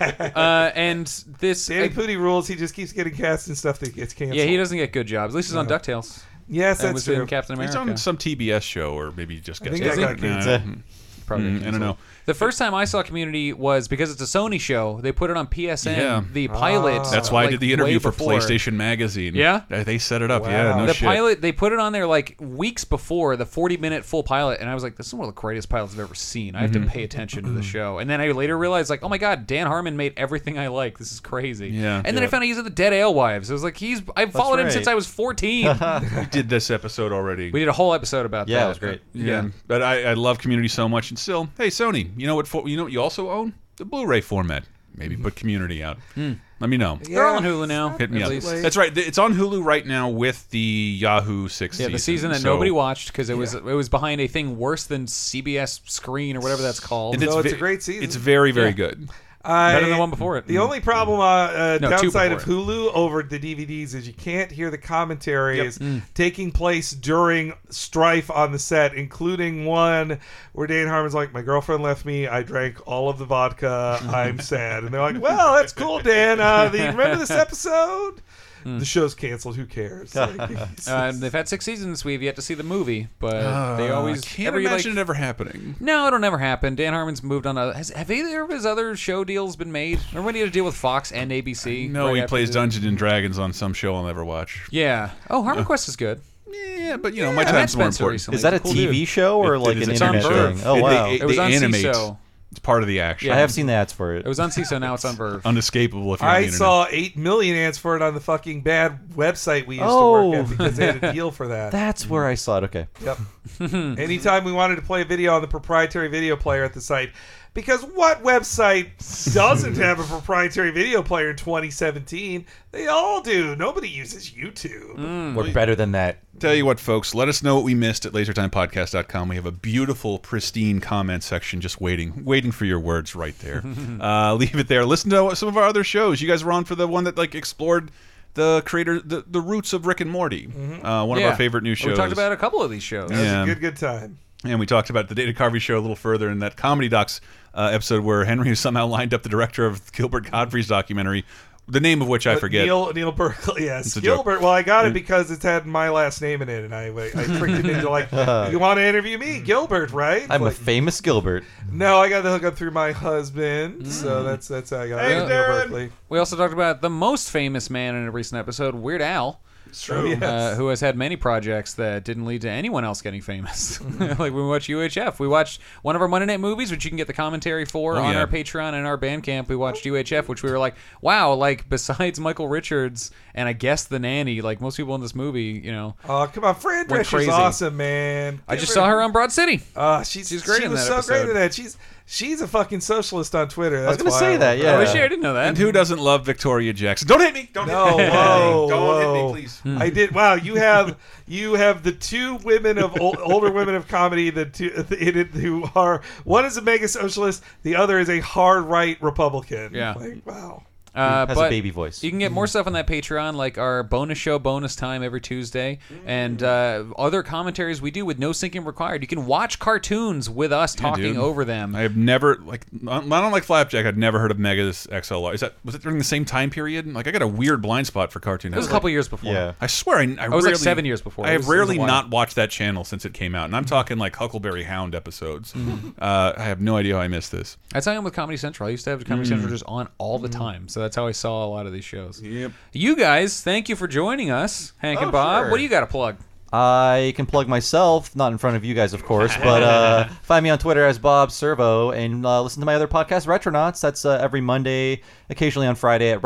Uh, and this
Danny Pudi rules. He just keeps getting cast and stuff that gets canceled.
Yeah, he doesn't get good jobs. At least he's on
No.
DuckTales.
Yes,
and
that's
was
true.
in Captain America.
He's on some TBS show or maybe just
I think
guest
that
star.
got
Yeah, I
canceled.
don't-
Probably
Mm, I don't know.
The first time I saw Community was because it's a Sony show. They put it on PSN,
Yeah.
the pilot.
That's why I
like,
did the interview
way
for
before.
PlayStation Magazine.
Yeah?
Uh, they set it up. Yeah, no
the
shit.
pilot they put it on there like weeks before the 40 minute full pilot and i was like this is one of the greatest pilots i've ever seen i have
Mhm.
to pay attention to the show and then i later realized like oh my god dan harmon made everything i like this is crazy
Yeah.
and then i
Yeah.
found out he's in the dead alewives it was like he's i've followed him since
right.
i was 14
we did this episode already.
we did a whole episode about that
Yeah, it was great. Yeah,
yeah
but I, I love Community so much, and still, hey Sony, you know what? For, you know what you also own the Blu-ray format. Maybe put Community out. Let me know.
They're all on Hulu now,
Hit me
at
up.
least.
That's right. It's on Hulu right now with the Yahoo Six.
yeah, the season that
so-
nobody watched because it was it was behind a thing worse than CBS Screen or whatever that's called.
And it's
So it's
ve-
a great season.
It's very very
Yeah.
good.
I-
Better than the one before it. Mm-hmm. Mm.
The only problem, uh, uh,
No, two
downside of
before
Hulu over the DVDs is you can't hear the commentary
Yep.
is
Mm.
taking place during strife on the set, including one where Dan Harmon's like, "My girlfriend left me. I drank all of the uh, vodka. I'm sad." And they're like, "Well, that's cool, Dan. Uh, the, remember this episode?"
Mm.
the show's canceled. Who cares? Like, it's-
uh, they've had six seasons. We've yet to see the movie, but they
Uh,
always
can't
every,
imagine
like-
it ever happening.
No, it'll never happen. Dan Harmon's moved on. A, has, have either of his other show deals been made? Remember when he had to deal with Fox and ABC?
No,
right
he
after
plays
the-
Dungeons and Dragons on some show I'll never watch.
Yeah. Oh, Harmon Quest is good.
Yeah, but you know,
Yeah,
my
I met
time's more
Spencer
important.
recently. Is that He's a a cool TV dude. show or like
is
an
a
internet
TV
thing? Oh,
It-
wow.
They,
It was
they
on
animate.
CISO.
It's part of the action.
I have seen the ads for it.
It was on CISO. Now it's on Verve.
Unescapable if you're on the
I
internet.
saw eight million ads for it on the fucking bad website we used to work at because they had a deal for that.
Oh. That's where I saw it. Okay.
Yep. Anytime we wanted to play a video on the proprietary video player at the site, because what website doesn't have a proprietary video player in 2017? They all do. Nobody uses YouTube.
Hmm.
We're better than that.
Tell you what, folks, let us know what we missed at lasertimepodcast.com. We have a beautiful, pristine comment section just waiting, waiting for your words right there. uh, leave it there. Listen to some of our other shows. You guys were on for the one that like explored the creator, the, the roots of Rick and Morty. uh, one
Mm-hmm.
of
Yeah.
our favorite new shows.
We talked about a couple of these shows.
That was a Yeah. good-
Good time.
And we talked about the Data Carvey show a little further in that comedy docs uh, episode where Henry somehow lined up the director of Gilbert Godfrey's documentary, the name of which I
But
forget.
Neil Neil Berkeley. Yes,
It's a
Gilbert.
joke.
Well, I got
Mm.
it because it's had my last name in it, and I I tricked him into like, you want to interview
Hmm.
me, Gilbert, right?
I'm a
Like,
famous Gilbert.
no, I got the hookup through my husband, so that's that's how I got
Hmm. Hey,
Neil
Darren.
Berkeley.
We also talked about the most famous man in a recent episode, Weird Al.
true.
uh,
Yes.
who has had many projects that didn't lead to anyone else getting famous. like we watched UHF. We watched one of our Monday night movies, which you can get the commentary for
Oh,
on
yeah.
our Patreon and our Bandcamp. We watched UHF, which we were like, wow, like besides Michael Richards and I guess the nanny, like most people in this movie, you know.
Oh, come on, Fran
Went
Drescher's
crazy.
awesome, man.
I just saw her on Broad City.
Uh, she's
She's great
She
in
was
that
so great
episode.
in that. She's she's a fucking socialist on Twitter. That's
gonna
why
say
love
that,
her.
yeah. I wish I didn't
know
And who doesn't love Victoria Jackson? Don't hit me! Don't
No,
hit me!
whoa,
Don't hit
whoa.
me, please.
Hmm.
I did. Wow, you have you have the two women of ol- older women of comedy that two in it who are one is a mega socialist, the other is a hard right Republican.
Yeah.
Like, wow.
Uh,
Has a
but
baby voice.
You can get more stuff on that Patreon, like our bonus show, bonus time every Tuesday, and uh, other commentaries we do with no syncing required. You can watch cartoons with us talking
dude.
over them.
I have never like um, I don't like Flapjack. I'd never heard of Mega's XLR. Is that was it during the same time period? Like I got a weird blind spot for Cartoon
It was a
Network.
couple years before.
Yeah. I swear I, I,
was like
rarely-
seven years before.
I
It
have
was- it was a
rarely
while. Mm-hmm.
not watched that channel since it came out, and I'm talking like Huckleberry Hound episodes. uh, I have no idea how I missed this.
That's how I am with Comedy Central. I used to have Comedy
Mm.
Central just on all the time, so that's how I saw a lot of these shows.
Yep.
You guys, thank you for joining us, Hank and Bob.
sure.
What do you got to plug?
I can plug myself, not in front of you guys, of course, but uh, find me on Twitter as Bob Servo and uh, listen to my other podcast, Retronauts. That's uh, every Monday, occasionally on Friday at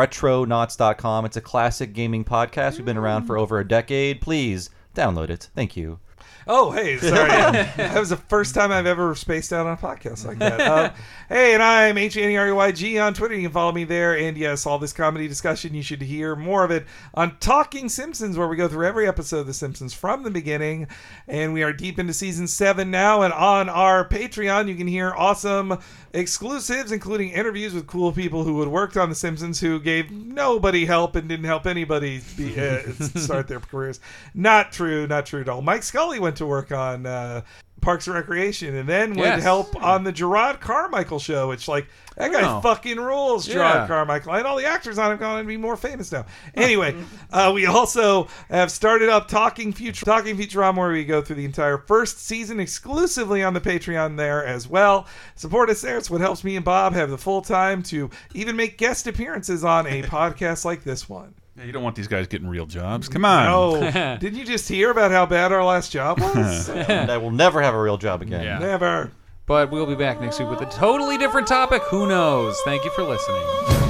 retronauts.com. It's a classic gaming podcast. We've been around for over a decade. Please download it. Thank you.
Oh, hey, sorry. that was the first time I've ever spaced out on a podcast like that. Um, hey, and I'm E H-A-N-E-R-E-Y-G on Twitter. You can follow me there. And yes, all this comedy discussion, you should hear more of it on Talking Simpsons, where we go through every episode of The Simpsons from the beginning. And we are deep into season seven now. And on our Patreon, you can hear awesome exclusives, including interviews with cool people who had worked on The Simpsons who gave nobody help and didn't help anybody be, uh, start their careers. Not true, not true at all. Mike Scully went to work on uh, Parks and Recreation and then went
Yes.
to help on the Gerard Carmichael show, which, like, that guy
Oh.
fucking rules, Gerard
Yeah.
Carmichael. And all the actors on him going to be more famous now. Anyway, uh, we also have started up Talking Future, Talking Futurama, where we go through the entire first season exclusively on the Patreon there as well. Support us there. It's what helps me and Bob have the full time to even make guest appearances on a podcast like this one.
Yeah, you don't want these guys getting real jobs. Come on.
No. Didn't you just hear about how bad our last job was?
I will never have a real job again.
Never.
But we'll be back next week with a totally different topic. Who knows? Thank you for listening.